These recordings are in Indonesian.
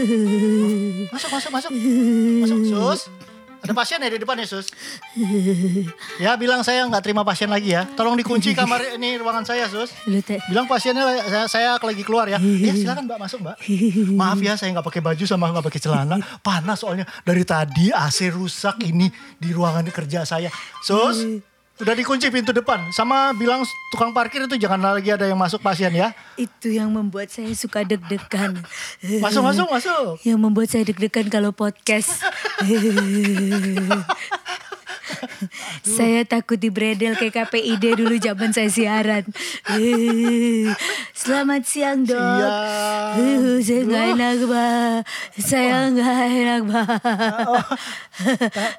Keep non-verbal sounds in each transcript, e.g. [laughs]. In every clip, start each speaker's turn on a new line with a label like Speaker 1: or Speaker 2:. Speaker 1: Eh, Masuk, masuk, masuk. Masuk, Sus. Ada pasien ya di depan ya, Sus? Ya, bilang saya nggak terima pasien lagi ya. Tolong dikunci kamar ini ruangan saya, Sus.
Speaker 2: Lu teh.
Speaker 1: Bilang pasiennya la- saya, saya lagi keluar ya. Ya, silakan Mbak masuk, Mbak. Maaf ya, saya nggak pakai baju sama nggak pakai celana. Panas soalnya dari tadi AC rusak ini di ruangan kerja saya. Sus, udah dikunci pintu depan. Sama bilang tukang parkir itu jangan lagi ada yang masuk pasien ya.
Speaker 2: Itu yang membuat saya suka deg-degan.
Speaker 1: Masuk, masuk, masuk.
Speaker 2: Yang membuat saya deg-degan kalau podcast. saya takut dibredel kayak KPID dulu zaman saya siaran. Selamat siang dok.
Speaker 1: Siang. Oh.
Speaker 2: Eh, saya nggak enak bah. Saya nggak enak bah.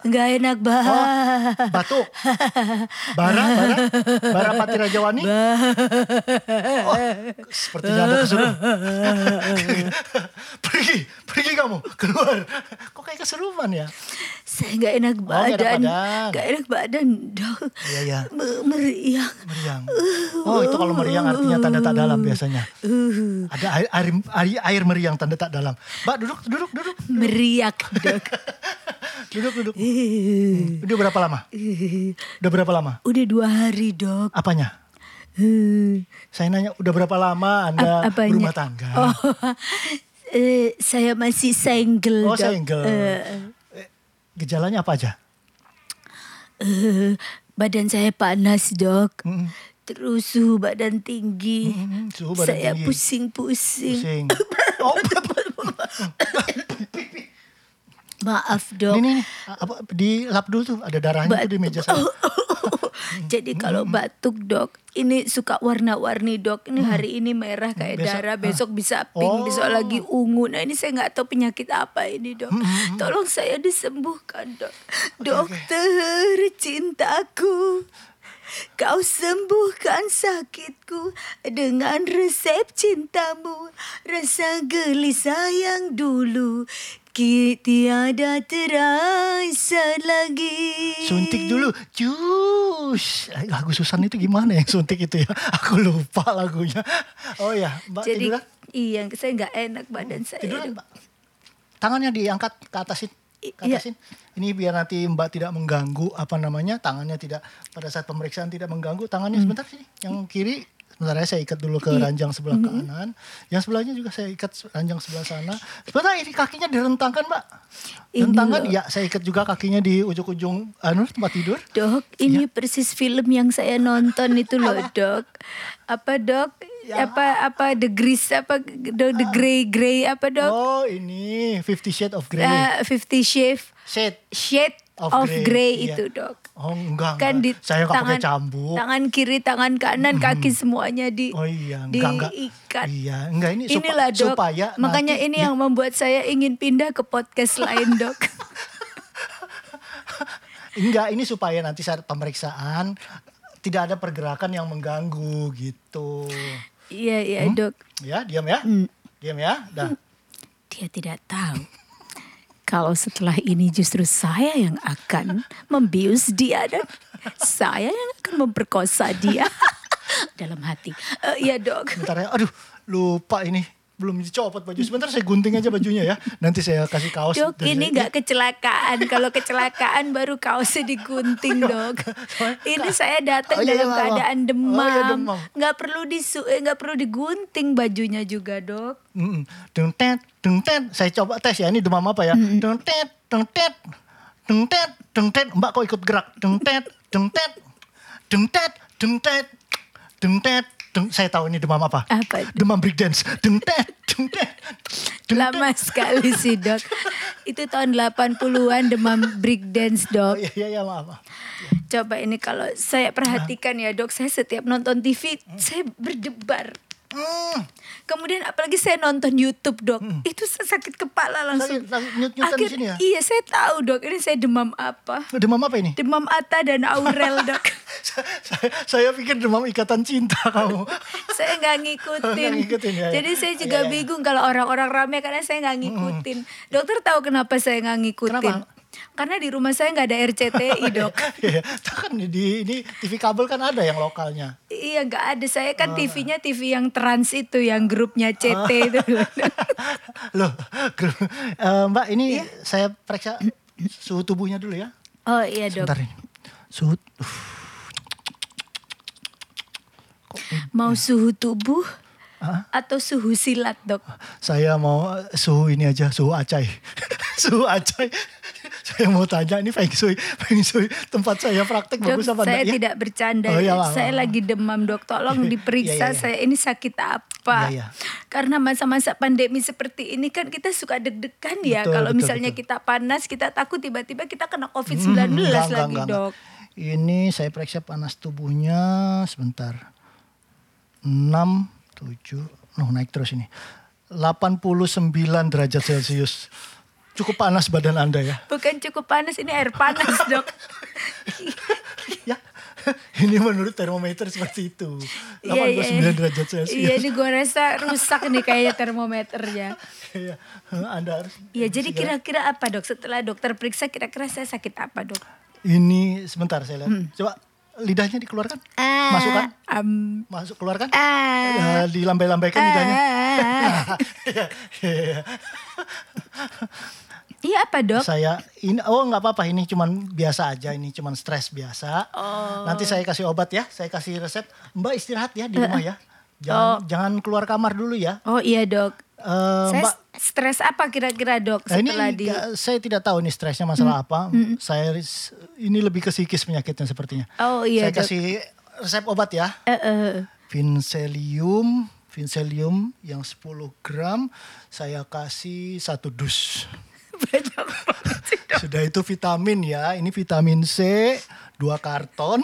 Speaker 2: Nggak enak bah.
Speaker 1: Batuk. Bara, bara, bara Pati Raja Wani. Oh, sepertinya ada keserupan. pergi, pergi kamu, keluar. Kok kayak keserupan ya?
Speaker 2: Saya nggak enak
Speaker 1: Oh, nggak enak
Speaker 2: badan.
Speaker 1: badan.
Speaker 2: Nggak enak badan dok.
Speaker 1: Iya, iya.
Speaker 2: Me- Meriang.
Speaker 1: Meriang. Oh, itu kalau meriang artinya tanda tak dalam biasanya.
Speaker 2: Uh,
Speaker 1: Ada air, air, air, air meriang tanda tak dalam. Mbak duduk, duduk, duduk. [laughs]
Speaker 2: meriak dok. [laughs]
Speaker 1: Duduk, duduk.
Speaker 2: Eh,
Speaker 1: Udah berapa lama?
Speaker 2: eh,
Speaker 1: Udah berapa lama?
Speaker 2: Udah dua hari dok.
Speaker 1: Apanya?
Speaker 2: Eh,
Speaker 1: Saya nanya udah berapa lama Anda
Speaker 2: ap- apanya?
Speaker 1: berumah tangga?
Speaker 2: Oh, [laughs] eh, saya masih single
Speaker 1: Oh
Speaker 2: dok.
Speaker 1: single.
Speaker 2: Eh,
Speaker 1: Eh, Gejalanya apa aja?
Speaker 2: eh, badan saya panas dok.
Speaker 1: Mm-mm.
Speaker 2: Terus suhu badan tinggi.
Speaker 1: Mm-mm, suhu badan
Speaker 2: Mm-hmm. saya
Speaker 1: tinggi.
Speaker 2: pusing-pusing. [laughs]
Speaker 1: Pusing. Oh,
Speaker 2: Maaf dok.
Speaker 1: ini, ini, apa, di lap dulu tuh ada darahnya
Speaker 2: Batuk.
Speaker 1: tuh di meja saya.
Speaker 2: [laughs] Jadi kalau batuk dok, ini suka warna-warni dok. Ini hari ini merah kayak
Speaker 1: Hmm. Besok,
Speaker 2: darah,
Speaker 1: ah.
Speaker 2: besok bisa pink,
Speaker 1: Oh. Hmm,
Speaker 2: besok lagi ungu. Nah ini saya nggak tahu penyakit apa ini dok. Tolong saya disembuhkan dok. Dokter cintaku, kau sembuhkan sakitku dengan resep cintamu. Rasa gelisah yang dulu. ki- Tiada terasa lagi
Speaker 1: Suntik dulu, cus. Eh, Lagu Susan itu gimana yang suntik itu ya? [laughs] Aku lupa lagunya. Oh ya, Mbak
Speaker 2: Jadi
Speaker 1: tiduran?
Speaker 2: iya, saya nggak enak badan saya.
Speaker 1: Tiduran, Mbak. Iya, Tangannya diangkat ke
Speaker 2: I-
Speaker 1: atasin.
Speaker 2: iya.
Speaker 1: Ke atasin. Ini biar nanti Mbak tidak mengganggu apa namanya, tangannya tidak pada saat pemeriksaan tidak mengganggu. Tangannya
Speaker 2: Hmm.
Speaker 1: sebentar sini, yang kiri sebentar ya, saya ikat dulu
Speaker 2: Iya.
Speaker 1: ke ranjang sebelah kanan. Yang sebelahnya juga saya ikat se- ranjang sebelah sana. Sebentar ini kakinya direntangkan, Mbak.
Speaker 2: Ini
Speaker 1: Rentangkan,
Speaker 2: loh.
Speaker 1: ya saya ikat juga kakinya di ujung-ujung anu tempat tidur.
Speaker 2: Dok,
Speaker 1: Iya.
Speaker 2: ini persis film yang saya nonton itu loh, Dok. Apa, Dok?
Speaker 1: Ya.
Speaker 2: Apa apa The Grease apa Dok The Grey Grey apa, Dok?
Speaker 1: Ah. Oh, ini Fifty Shades of Grey.
Speaker 2: Eh, Fifty Shades
Speaker 1: Shade.
Speaker 2: Shade
Speaker 1: Of
Speaker 2: of,
Speaker 1: Grey,
Speaker 2: Grey,
Speaker 1: iya.
Speaker 2: itu, Dok.
Speaker 1: Oh, enggak.
Speaker 2: Kan di
Speaker 1: enggak. saya nggak pakai
Speaker 2: tangan
Speaker 1: cambuk. Hmm.
Speaker 2: tangan kiri, tangan kanan, kaki semuanya di
Speaker 1: Oh iya, enggak enggak.
Speaker 2: diikat.
Speaker 1: Iya, enggak ini supa-
Speaker 2: Inilah, Dok.
Speaker 1: supaya
Speaker 2: Makanya
Speaker 1: nanti ya,
Speaker 2: ini
Speaker 1: di-
Speaker 2: yang membuat saya ingin pindah ke podcast lain, Dok.
Speaker 1: [laughs] enggak ini supaya nanti saat pemeriksaan tidak ada pergerakan yang mengganggu gitu.
Speaker 2: Iya, iya, Dok.
Speaker 1: Ya, diam ya.
Speaker 2: Hmm.
Speaker 1: Diam ya. Dah.
Speaker 2: Dia tidak tahu kalau setelah ini justru saya yang akan membius dia dan saya yang akan memperkosa
Speaker 1: [laughs]
Speaker 2: dia dalam hati. Eh, Iya dok.
Speaker 1: Bentar ya. Aduh, lupa ini. Belum dicopot baju. Sebentar saya gunting aja bajunya ya. Nanti saya kasih kaos.
Speaker 2: Dok
Speaker 1: dan
Speaker 2: ini
Speaker 1: saya-
Speaker 2: nggak kecelakaan. Kalau kecelakaan baru kaosnya digunting dok. Ini saya datang
Speaker 1: Oh,
Speaker 2: dalam
Speaker 1: iya, iya, maaf.
Speaker 2: keadaan
Speaker 1: Oh, iya,
Speaker 2: demam.
Speaker 1: demam.
Speaker 2: Nggak perlu disu, eh, nggak perlu digunting bajunya juga dok.
Speaker 1: Mm-mm. Deng tet, deng tet. Saya coba tes ya ini demam apa ya. Deng tet, deng tet, deng tet, deng tet. Mbak kok ikut gerak. Deng tet, deng tet, deng tet, deng tet, deng tet. Deng, saya tahu ini demam apa.
Speaker 2: Apa?
Speaker 1: [laughs] Demam breakdance. Deng tet, deng tet, deng tet.
Speaker 2: Lama sekali sih dok. Itu tahun 80-an demam breakdance
Speaker 1: Oh,
Speaker 2: dok.
Speaker 1: iya, iya, iya, maaf. maaf.
Speaker 2: Coba ini kalau saya perhatikan ya dok, saya setiap nonton TV saya berdebar.
Speaker 1: Hmm,
Speaker 2: Kemudian apalagi saya nonton YouTube dok, itu saya sakit kepala langsung.
Speaker 1: Sakit, langsung nyut-nyutan di
Speaker 2: Akhir-
Speaker 1: sini ya?
Speaker 2: Iya saya tahu dok, ini saya demam apa?
Speaker 1: demam apa ini?
Speaker 2: Demam Ata dan
Speaker 1: [laughs]
Speaker 2: Aurel dok.
Speaker 1: saya, saya pikir demam ikatan cinta kamu.
Speaker 2: saya nggak ngikutin.
Speaker 1: Nggak ngikutin, ya, ya.
Speaker 2: Jadi saya juga
Speaker 1: Iya, iya.
Speaker 2: bingung kalau orang-orang rame karena saya nggak ngikutin. Dokter tahu kenapa saya nggak ngikutin?
Speaker 1: Kenapa?
Speaker 2: Karena di rumah saya nggak ada
Speaker 1: [laughs]
Speaker 2: RCTI dok.
Speaker 1: Iya, kan di ini TV kabel kan ada yang lokalnya.
Speaker 2: Iya nggak ada saya
Speaker 1: Oh.
Speaker 2: kan TV-nya TV yang trans itu yang grupnya CT itu.
Speaker 1: [laughs]
Speaker 2: loh, Dok.
Speaker 1: Loh, gr- eh, Mbak ini
Speaker 2: Iya.
Speaker 1: saya periksa suhu tubuhnya dulu ya.
Speaker 2: Oh iya dok.
Speaker 1: Bentar ini. Suhu uh,
Speaker 2: Mau
Speaker 1: Iya.
Speaker 2: suhu tubuh atau suhu silat dok?
Speaker 1: saya mau eh, suhu ini aja, suhu acai. [laughs] suhu acai. saya mau tanya ini Feng Shui, Feng Shui tempat saya praktek
Speaker 2: Dok,
Speaker 1: bagus apa
Speaker 2: saya
Speaker 1: enggak ya?
Speaker 2: tidak bercanda.
Speaker 1: Oh, iya, Pak.
Speaker 2: saya lagi demam dok, tolong diperiksa
Speaker 1: [laughs] Iya, iya, iya.
Speaker 2: saya ini sakit apa?
Speaker 1: Iya, iya.
Speaker 2: Karena masa-masa pandemi seperti ini kan kita suka deg-degan ya.
Speaker 1: Betul,
Speaker 2: Kalau
Speaker 1: betul,
Speaker 2: misalnya
Speaker 1: betul. Hmm,
Speaker 2: kita panas, kita takut tiba-tiba kita kena COVID-19
Speaker 1: Enggak,
Speaker 2: lagi
Speaker 1: enggak, enggak, enggak.
Speaker 2: dok.
Speaker 1: Ini saya periksa panas tubuhnya sebentar. 6 7 noh naik terus ini. 89 derajat Celcius. Cukup panas badan Anda
Speaker 2: [laughs]
Speaker 1: ya.
Speaker 2: Bukan cukup panas, ini air panas
Speaker 1: [laughs]
Speaker 2: dok.
Speaker 1: ya. Ini menurut termometer seperti itu. 89
Speaker 2: Iya, iya, iya.
Speaker 1: derajat
Speaker 2: Iya
Speaker 1: Celcius.
Speaker 2: ini gue rasa rusak nih kayaknya termometernya.
Speaker 1: Iya. Anda harus
Speaker 2: Ya jadi kira-kira apa dok? Setelah dokter periksa kira-kira saya sakit apa dok?
Speaker 1: ini sebentar saya lihat.
Speaker 2: Hmm.
Speaker 1: Coba lidahnya dikeluarkan.
Speaker 2: Eh.
Speaker 1: Masukkan.
Speaker 2: Am-
Speaker 1: Masuk keluarkan.
Speaker 2: ah,
Speaker 1: Ya, dilambai-lambaikan lidahnya.
Speaker 2: ah.
Speaker 1: [laughs] Iya, iya, iya.
Speaker 2: [laughs] Iya apa dok?
Speaker 1: saya ini oh nggak apa-apa ini cuman biasa aja ini cuman stres biasa
Speaker 2: Oh.
Speaker 1: nanti saya kasih obat ya saya kasih resep mbak istirahat ya di
Speaker 2: Eh,
Speaker 1: rumah ya jangan jangan keluar kamar dulu ya
Speaker 2: Oh iya dok.
Speaker 1: Eh,
Speaker 2: Saya
Speaker 1: mbak
Speaker 2: stres apa kira-kira dok
Speaker 1: nah, ini
Speaker 2: setelah di? Hmm.
Speaker 1: nggak- saya tidak tahu ini stresnya masalah apa saya ris- ini lebih ke psikis penyakitnya sepertinya
Speaker 2: Oh iya
Speaker 1: saya
Speaker 2: dok.
Speaker 1: kasih resep obat ya
Speaker 2: Eh, eh.
Speaker 1: vincelium vincelium yang 10 gram saya kasih satu dus
Speaker 2: [laughs] Banyak banget sih.
Speaker 1: Sudah itu vitamin ya. Ini vitamin C, dua karton.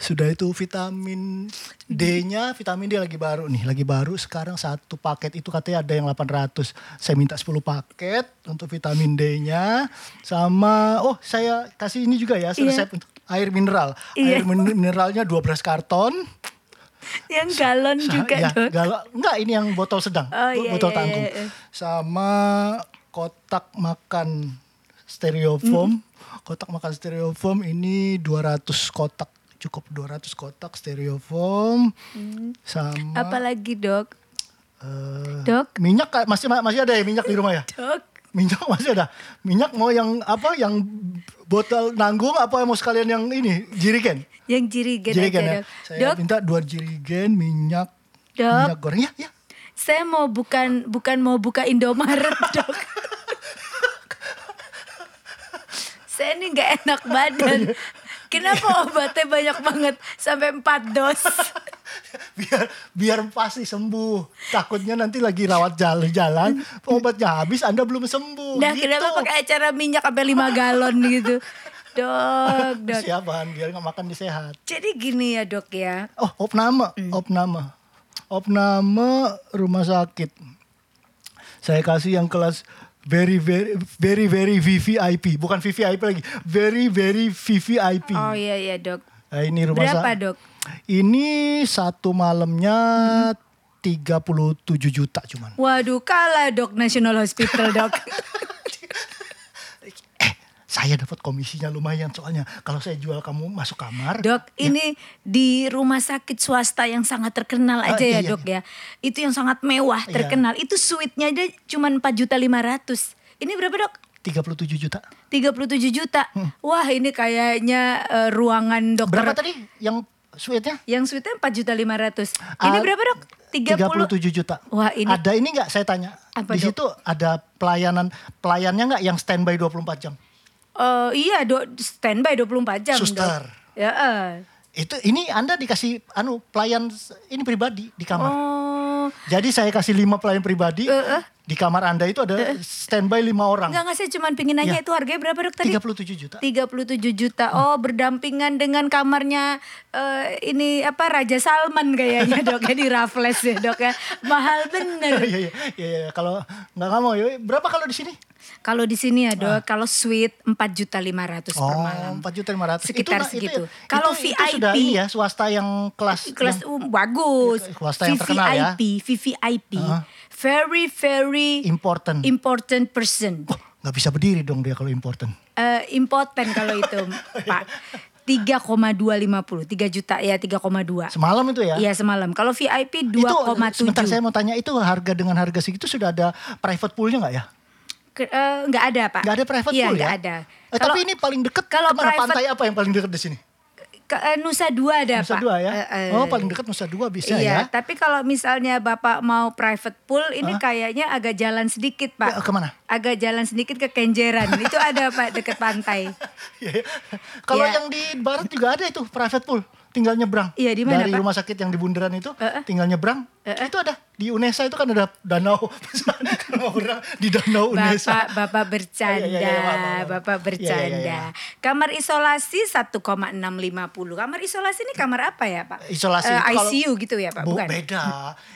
Speaker 1: Sudah itu vitamin D-nya, vitamin D lagi baru nih, lagi baru sekarang satu paket itu katanya ada yang 800. Saya minta 10 paket untuk vitamin D-nya sama oh saya kasih ini juga ya
Speaker 2: Iya.
Speaker 1: resep untuk air mineral.
Speaker 2: Iya.
Speaker 1: Air min- mineralnya 12 karton.
Speaker 2: Yang galon juga
Speaker 1: Ya,
Speaker 2: dok.
Speaker 1: galon. Enggak, ini yang botol
Speaker 2: Oh,
Speaker 1: sedang, bo-
Speaker 2: iya, iya,
Speaker 1: botol tanggung.
Speaker 2: iya, iya.
Speaker 1: Sama kotak makan
Speaker 2: Hmm.
Speaker 1: stereofoam. Kotak makan stereofoam ini 200 kotak, cukup 200 kotak stereofoam.
Speaker 2: Hmm.
Speaker 1: Sama
Speaker 2: Apalagi dok?
Speaker 1: eh,
Speaker 2: Dok?
Speaker 1: minyak ka- masih masih ada ya minyak di rumah ya?
Speaker 2: Dok?
Speaker 1: Minyak [laughs] masih ada. Minyak mau yang apa yang botol nanggung apa mau sekalian yang ini jirigen?
Speaker 2: Yang jirigen,
Speaker 1: Jirigen
Speaker 2: aja
Speaker 1: ya.
Speaker 2: dok.
Speaker 1: Saya
Speaker 2: Dok,
Speaker 1: minta dua jirigen minyak
Speaker 2: Dok.
Speaker 1: minyak goreng ya, ya.
Speaker 2: saya mau bukan bukan mau buka
Speaker 1: [laughs]
Speaker 2: Indomaret dok. saya ini nggak enak badan. Kenapa obatnya banyak banget sampai 4 dos?
Speaker 1: [laughs] biar biar pasti sembuh takutnya nanti lagi rawat jalan-jalan obatnya habis anda belum sembuh
Speaker 2: Nah,
Speaker 1: gitu.
Speaker 2: kenapa pakai acara minyak sampai 5 galon gitu? Dok, dok.
Speaker 1: persiapan biar nggak makan di sehat
Speaker 2: Jadi gini ya, Dok ya.
Speaker 1: oh opname opname opname rumah sakit saya kasih yang kelas very very very very VVIP bukan VVIP lagi very very VVIP
Speaker 2: Oh iya iya, Dok.
Speaker 1: Nah, ini rumah
Speaker 2: Berapa,
Speaker 1: sakit
Speaker 2: Dok?
Speaker 1: ini satu malamnya 37 juta cuman
Speaker 2: Waduh, kalah, Dok, National Hospital,
Speaker 1: [laughs]
Speaker 2: Dok.
Speaker 1: Ya. eh saya dapat komisinya lumayan soalnya kalau saya jual kamu masuk kamar
Speaker 2: Dok, ini di rumah sakit swasta yang sangat terkenal
Speaker 1: Ah,
Speaker 2: aja
Speaker 1: iya,
Speaker 2: ya,
Speaker 1: iya,
Speaker 2: Dok ya. Itu yang sangat mewah,
Speaker 1: Iya.
Speaker 2: terkenal. Itu suite-nya aja cuma 4 juta 500. Ini berapa, Dok?
Speaker 1: 37 juta
Speaker 2: 37 juta. Wah, ini kayaknya eh, ruangan dokter
Speaker 1: Hmm. berapa tadi yang suite-nya
Speaker 2: Yang suite 4 juta 500. Ini
Speaker 1: Ah,
Speaker 2: berapa dok? 30.
Speaker 1: 37 juta
Speaker 2: Wah, ini-
Speaker 1: ada ini nggak saya tanya
Speaker 2: Apa,
Speaker 1: di
Speaker 2: Dok?
Speaker 1: situ ada pelayanan pelayannya nggak yang standby 24 jam
Speaker 2: Eh, iya dok, standby 24 jam
Speaker 1: Suster.
Speaker 2: dok. Ya, eh.
Speaker 1: itu ini anda dikasih anu pelayan s- ini pribadi di kamar
Speaker 2: Oh, Eh,
Speaker 1: jadi saya kasih lima pelayan pribadi di kamar anda itu ada standby lima orang
Speaker 2: enggak enggak saya cuma pengen nanya
Speaker 1: Iya.
Speaker 2: itu harganya berapa dok tadi?
Speaker 1: 37 juta
Speaker 2: 37 juta. Oh, berdampingan dengan kamarnya eh, ini apa Raja Salman kayaknya dok ya di Raffles ya dok ya. Mahal bener.
Speaker 1: [laughs] Iya, iya, iya, iya. kalau nggak kamu ya berapa kalau di sini
Speaker 2: Kalau di sini ya dok, kalau suite 4 juta 500 per malam.
Speaker 1: Oh, empat juta lima ratus
Speaker 2: Sekitar segitu. Kalau VIP.
Speaker 1: ya, sudah iya swasta yang kelas
Speaker 2: kelas um, bagus.
Speaker 1: Iya, Swasta yang terkenal ya.
Speaker 2: VVIP, VVIP. Very very
Speaker 1: yang important
Speaker 2: important person.
Speaker 1: Nggak bisa berdiri dong dia kalau important.
Speaker 2: Eh, impoten kalau
Speaker 1: [laughs]
Speaker 2: itu
Speaker 1: Oh, iya.
Speaker 2: Pak. 3,250, 3 juta ya 3,2.
Speaker 1: Semalam itu ya.
Speaker 2: Iya semalam. Kalau VIP
Speaker 1: Itu sebentar
Speaker 2: 2,7.
Speaker 1: saya mau tanya itu harga dengan harga segitu sudah ada private poolnya nggak ya?
Speaker 2: Ke- eh, Nggak ada Pak.
Speaker 1: Nggak ada private
Speaker 2: iya,
Speaker 1: pool
Speaker 2: nggak
Speaker 1: ya?
Speaker 2: ada.
Speaker 1: Eh,
Speaker 2: Kalau-
Speaker 1: tapi ini paling dekat
Speaker 2: kalau
Speaker 1: kemana?
Speaker 2: private-
Speaker 1: Pantai apa yang paling dekat di sini?
Speaker 2: ke, eh, Nusa Dua ada
Speaker 1: Nusa
Speaker 2: Pak.
Speaker 1: Dua ya?
Speaker 2: Eh, eh,
Speaker 1: oh paling dekat Nusa Dua bisa
Speaker 2: iya,
Speaker 1: ya?
Speaker 2: tapi kalau misalnya Bapak mau private pool ini kayaknya agak jalan sedikit, Pak.
Speaker 1: Ya, kemana?
Speaker 2: Agak jalan sedikit ke Kenjeran. itu ada, Pak, deket
Speaker 1: [laughs]
Speaker 2: pantai.
Speaker 1: Iya, iya. Kalau
Speaker 2: Iya.
Speaker 1: yang di barat juga ada itu private pool, tinggal nyebrang.
Speaker 2: Iya, di mana,
Speaker 1: Dari
Speaker 2: Pak?
Speaker 1: rumah sakit yang di Bundaran itu,
Speaker 2: Eh, eh.
Speaker 1: tinggal nyebrang. Itu ada di Unesa itu kan ada danau, [laughs] mau berenang di danau
Speaker 2: Bapak,
Speaker 1: Unesa.
Speaker 2: eh, Bapak bercanda,
Speaker 1: Iya, iya, iya, maaf, maaf.
Speaker 2: Bapak
Speaker 1: Iya, iya, iya,
Speaker 2: bercanda. Kamar isolasi 1,650. Kamar isolasi ini kamar apa ya, Pak?
Speaker 1: Isolasi
Speaker 2: Eh,
Speaker 1: itu kalau-
Speaker 2: ICU gitu ya, Pak?
Speaker 1: Bu,
Speaker 2: Bukan.
Speaker 1: beda.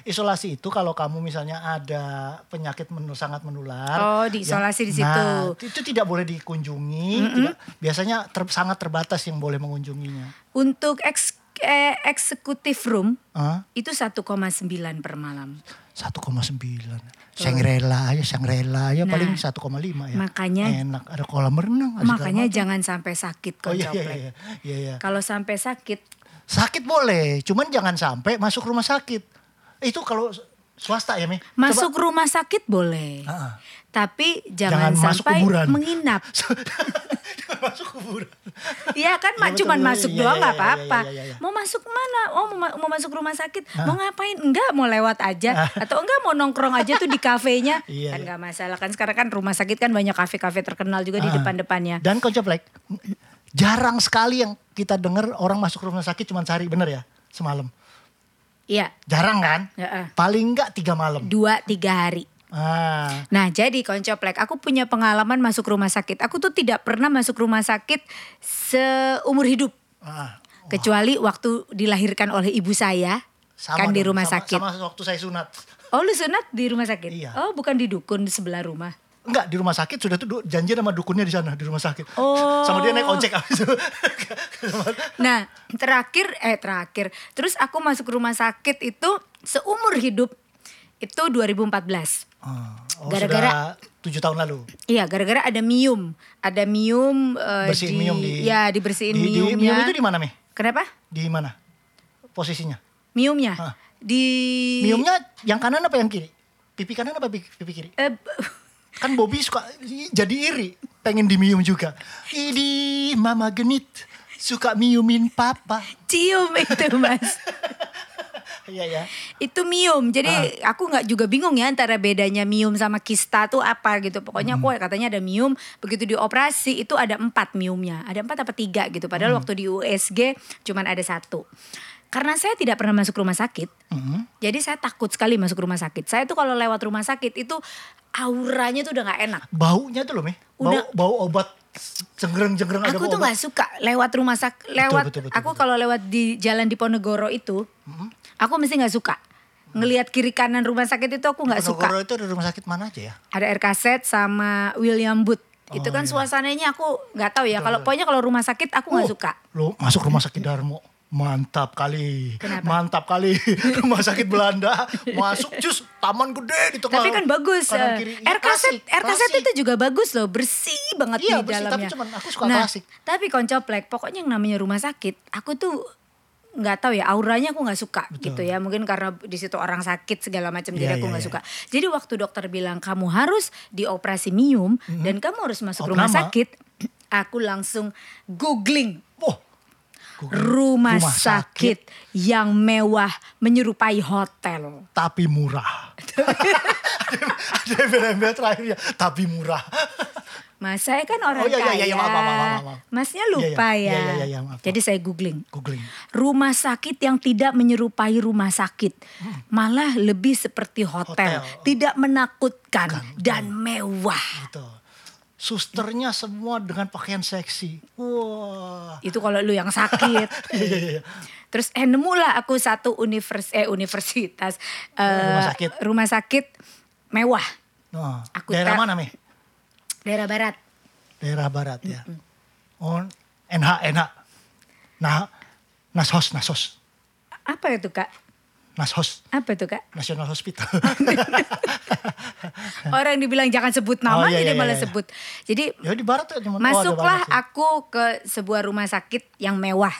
Speaker 1: Isolasi itu kalau kamu misalnya ada penyakit menu, sangat menular.
Speaker 2: Oh, diisolasi
Speaker 1: ya,
Speaker 2: di situ.
Speaker 1: Nah, itu tidak boleh dikunjungi. tidak- biasanya ter- sangat terbatas yang boleh mengunjunginya.
Speaker 2: Untuk eks, eh, eksekutif room
Speaker 1: Hah?
Speaker 2: itu 1,9 per malam.
Speaker 1: 1,9. Sangrela aja, Sangrela aja
Speaker 2: Nah,
Speaker 1: paling 1,5 ya.
Speaker 2: makanya-
Speaker 1: enak ada kolam renang. ada segala
Speaker 2: Makanya
Speaker 1: macam.
Speaker 2: jangan sampai sakit
Speaker 1: Oh
Speaker 2: kalau
Speaker 1: iya iya iya. Iya, iya.
Speaker 2: Kalau sampai sakit,
Speaker 1: Sakit boleh, cuman jangan sampai masuk rumah sakit. Itu kalau swasta ya, Mi. Coba-
Speaker 2: masuk rumah sakit boleh.
Speaker 1: Ah, ah.
Speaker 2: Tapi jangan,
Speaker 1: Jangan masuk
Speaker 2: sampai
Speaker 1: kuburan.
Speaker 2: menginap.
Speaker 1: Jangan masuk kuburan.
Speaker 2: Iya kan,
Speaker 1: [laughs] Iya,
Speaker 2: mak
Speaker 1: betul,
Speaker 2: cuman
Speaker 1: betul.
Speaker 2: masuk
Speaker 1: Iya,
Speaker 2: doang
Speaker 1: iya,
Speaker 2: nggak
Speaker 1: iya, iya,
Speaker 2: apa-apa.
Speaker 1: iya, iya, iya.
Speaker 2: Mau masuk mana? Oh, mau, ma- mau masuk rumah sakit. Mau ngapain? Enggak, mau lewat aja. Atau enggak mau nongkrong aja tuh di kafenya.
Speaker 1: [laughs] Iya,
Speaker 2: kan
Speaker 1: iya.
Speaker 2: nggak masalah kan sekarang kan rumah sakit kan banyak kafe-kafe terkenal juga di
Speaker 1: Ah.
Speaker 2: depan-depannya.
Speaker 1: Dan Coach Black, jarang sekali yang kita dengar orang masuk rumah sakit cuma sehari, bener ya? Semalam.
Speaker 2: Iya,
Speaker 1: Jarang kan?
Speaker 2: Heeh.
Speaker 1: Paling enggak tiga malam.
Speaker 2: dua tiga hari.
Speaker 1: Ah,
Speaker 2: Nah jadi koncoplek, aku punya pengalaman masuk rumah sakit. Aku tuh tidak pernah masuk rumah sakit seumur hidup.
Speaker 1: ah.
Speaker 2: Kecuali waktu dilahirkan oleh ibu saya.
Speaker 1: Sama
Speaker 2: kan di
Speaker 1: dong,
Speaker 2: rumah
Speaker 1: sama-
Speaker 2: sakit.
Speaker 1: Sama waktu saya sunat.
Speaker 2: Oh lu sunat di rumah sakit?
Speaker 1: Iya.
Speaker 2: Oh bukan di dukun di sebelah rumah.
Speaker 1: Enggak, di rumah sakit sudah tuh du- janjian sama dukunnya di sana, di rumah sakit.
Speaker 2: Oh.
Speaker 1: sama dia naik ojek abis itu. [laughs]
Speaker 2: Nah terakhir, eh terakhir. Terus aku masuk rumah sakit itu seumur hidup itu 2014.
Speaker 1: Ah, oh,
Speaker 2: Gara-gara-
Speaker 1: sudah tujuh tahun lalu.
Speaker 2: Iya gara-gara ada mium. Ada mium. eh,
Speaker 1: Bersihin mium di...
Speaker 2: Ya dibersihin
Speaker 1: di, di-
Speaker 2: miumnya.
Speaker 1: mium itu di mana, Mi?
Speaker 2: Kenapa?
Speaker 1: Di mana? Posisinya?
Speaker 2: Miumnya?
Speaker 1: Hah.
Speaker 2: Di...
Speaker 1: Miumnya yang kanan apa yang kiri? Pipi kanan apa pipi, pipi kiri?
Speaker 2: Eh, [laughs]
Speaker 1: Kan Bobby suka i- jadi iri, pengen dimium juga. Idi mama genit, suka miumin papa.
Speaker 2: cium itu mas
Speaker 1: Iya ya.
Speaker 2: itu mium jadi aku nggak juga bingung ya antara bedanya mium sama kista tuh apa gitu pokoknya aku katanya ada mium begitu dioperasi itu ada empat miumnya ada empat apa tiga gitu padahal waktu di USG cuman ada satu karena saya tidak pernah masuk rumah sakit
Speaker 1: Mm.
Speaker 2: jadi saya takut sekali masuk rumah sakit saya tuh kalau lewat rumah sakit itu auranya tuh udah nggak enak
Speaker 1: Baunya tuh loh, Mi. Bau,
Speaker 2: Udah.
Speaker 1: bau obat cenggereng-cenggereng ada
Speaker 2: Aku
Speaker 1: bau
Speaker 2: tuh
Speaker 1: obat.
Speaker 2: nggak suka lewat rumah sakit, lewat
Speaker 1: betul, betul,
Speaker 2: aku kalau lewat di jalan Diponegoro itu, aku mesti nggak suka ngelihat kiri kanan rumah sakit itu aku nggak suka.
Speaker 1: Diponegoro itu ada rumah sakit mana aja ya?
Speaker 2: Ada RKZ sama William Booth. itu
Speaker 1: Oh,
Speaker 2: kan
Speaker 1: iya.
Speaker 2: suasananya aku nggak tahu ya. Kalau pokoknya kalau rumah sakit aku nggak
Speaker 1: Oh,
Speaker 2: suka.
Speaker 1: Lo masuk rumah sakit Darmo. Mantap kali.
Speaker 2: Kenapa?
Speaker 1: Mantap
Speaker 2: [laughs]
Speaker 1: kali. rumah sakit Belanda. Masuk cus taman gede di tengah.
Speaker 2: Tapi kan bagus.
Speaker 1: kanan
Speaker 2: eh,
Speaker 1: kiri. Iya, klasik,
Speaker 2: RKZ, RKZ
Speaker 1: klasik.
Speaker 2: itu juga bagus loh, bersih banget
Speaker 1: Iya,
Speaker 2: di
Speaker 1: bersih, tapi
Speaker 2: dalamnya.
Speaker 1: cuman aku suka
Speaker 2: nah,
Speaker 1: klasik.
Speaker 2: Tapi koncoplek, pokoknya yang namanya rumah sakit, aku tuh nggak tahu ya auranya aku nggak suka gitu ya mungkin karena di situ orang sakit segala macam
Speaker 1: Iya,
Speaker 2: jadi aku
Speaker 1: iya,
Speaker 2: nggak
Speaker 1: iya.
Speaker 2: suka jadi waktu dokter bilang kamu harus dioperasi mium dan kamu harus masuk rumah
Speaker 1: Opname.
Speaker 2: sakit aku langsung googling
Speaker 1: Wah.
Speaker 2: rumah,
Speaker 1: Rumah
Speaker 2: sakit, yang mewah menyerupai hotel
Speaker 1: tapi
Speaker 2: [laughs]
Speaker 1: murah. ada embel-embel terakhirnya, ya. tapi murah.
Speaker 2: Mas saya kan orang
Speaker 1: Oh, iya, iya,
Speaker 2: kaya.
Speaker 1: iya, maaf, maaf, maaf, maaf, maaf.
Speaker 2: Masnya
Speaker 1: Iya, iya.
Speaker 2: lupa ya.
Speaker 1: Iya, iya, iya, iya, maaf,
Speaker 2: Jadi saya googling.
Speaker 1: Googling.
Speaker 2: Rumah sakit yang tidak menyerupai rumah sakit. Malah lebih seperti hotel.
Speaker 1: Hmm. Hotel.
Speaker 2: Tidak menakutkan dan mewah.
Speaker 1: Gitu. Susternya semua dengan pakaian seksi. Wah.
Speaker 2: Itu kalau lu yang
Speaker 1: [laughs]
Speaker 2: sakit.
Speaker 1: Iya, iya, iya.
Speaker 2: Terus eh nemulah aku satu univers eh universitas eh,
Speaker 1: Rumah sakit.
Speaker 2: rumah sakit mewah
Speaker 1: Nah,
Speaker 2: Aku
Speaker 1: daerah
Speaker 2: tak-
Speaker 1: mana, Mi?
Speaker 2: daerah barat.
Speaker 1: Daerah barat ya. On NH, NH. Nah, Nasos, Nasos.
Speaker 2: Apa itu Kak?
Speaker 1: Nashos,
Speaker 2: Apa tuh kak?
Speaker 1: National
Speaker 2: [laughs]
Speaker 1: Hospital.
Speaker 2: Orang dibilang jangan sebut nama,
Speaker 1: Oh, iya,
Speaker 2: jadi
Speaker 1: iya,
Speaker 2: malah
Speaker 1: iya.
Speaker 2: sebut. Jadi
Speaker 1: ya di barat tuh cuman oh, ada
Speaker 2: masuklah
Speaker 1: barat sih.
Speaker 2: aku ke sebuah rumah sakit yang mewah.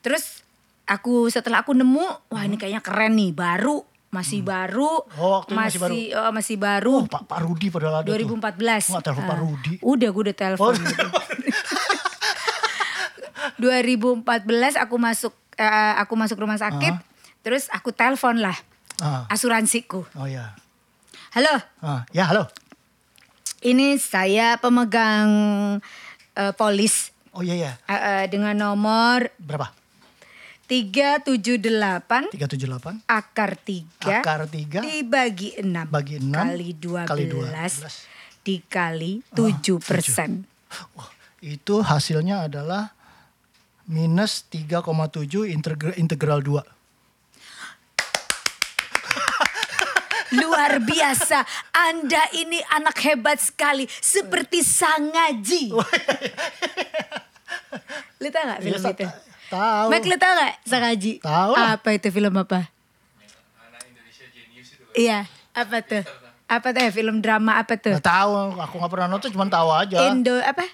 Speaker 2: Terus aku setelah aku nemu, wah ini kayaknya keren nih, baru, masih baru,
Speaker 1: Hmm. Oh, waktu itu masih baru.
Speaker 2: eh, masih baru.
Speaker 1: Oh, Pak Pak Rudi padahal ada tuh.
Speaker 2: 2014.
Speaker 1: Nggak telepon Pak
Speaker 2: Ah,
Speaker 1: Rudi.
Speaker 2: Udah gue udah
Speaker 1: Oh,
Speaker 2: telepon. [laughs] 2014 aku masuk eh, aku masuk rumah sakit,
Speaker 1: Ah.
Speaker 2: terus aku telepon lah
Speaker 1: [laughs] Ah.
Speaker 2: asuransiku.
Speaker 1: oh ya.
Speaker 2: Halo,
Speaker 1: Ah, ya halo.
Speaker 2: ini saya pemegang eh, polis
Speaker 1: Oh iya ya.
Speaker 2: eh, eh, dengan nomor
Speaker 1: Berapa?
Speaker 2: 378
Speaker 1: 378
Speaker 2: akar 3
Speaker 1: Akar tiga.
Speaker 2: dibagi 6
Speaker 1: Bagi enam,
Speaker 2: kali 12,
Speaker 1: kali 12.
Speaker 2: dikali 7 persen.
Speaker 1: Wah, itu hasilnya adalah minus 3,7 integra- integral 2.
Speaker 2: Luar biasa, Anda ini anak hebat sekali, seperti sang
Speaker 1: [laughs]
Speaker 2: ngaji. Lu tau gak film
Speaker 1: Iya,
Speaker 2: itu?
Speaker 1: ta- tahu.
Speaker 2: Mike, lu tau gak sang ngaji?
Speaker 1: Tahu lah.
Speaker 2: Apa itu film apa? Iya, apa tuh? Apa tuh ya, film drama apa tuh?
Speaker 1: Nggak tahu, aku nggak pernah nonton, cuma tahu aja.
Speaker 2: Indo apa?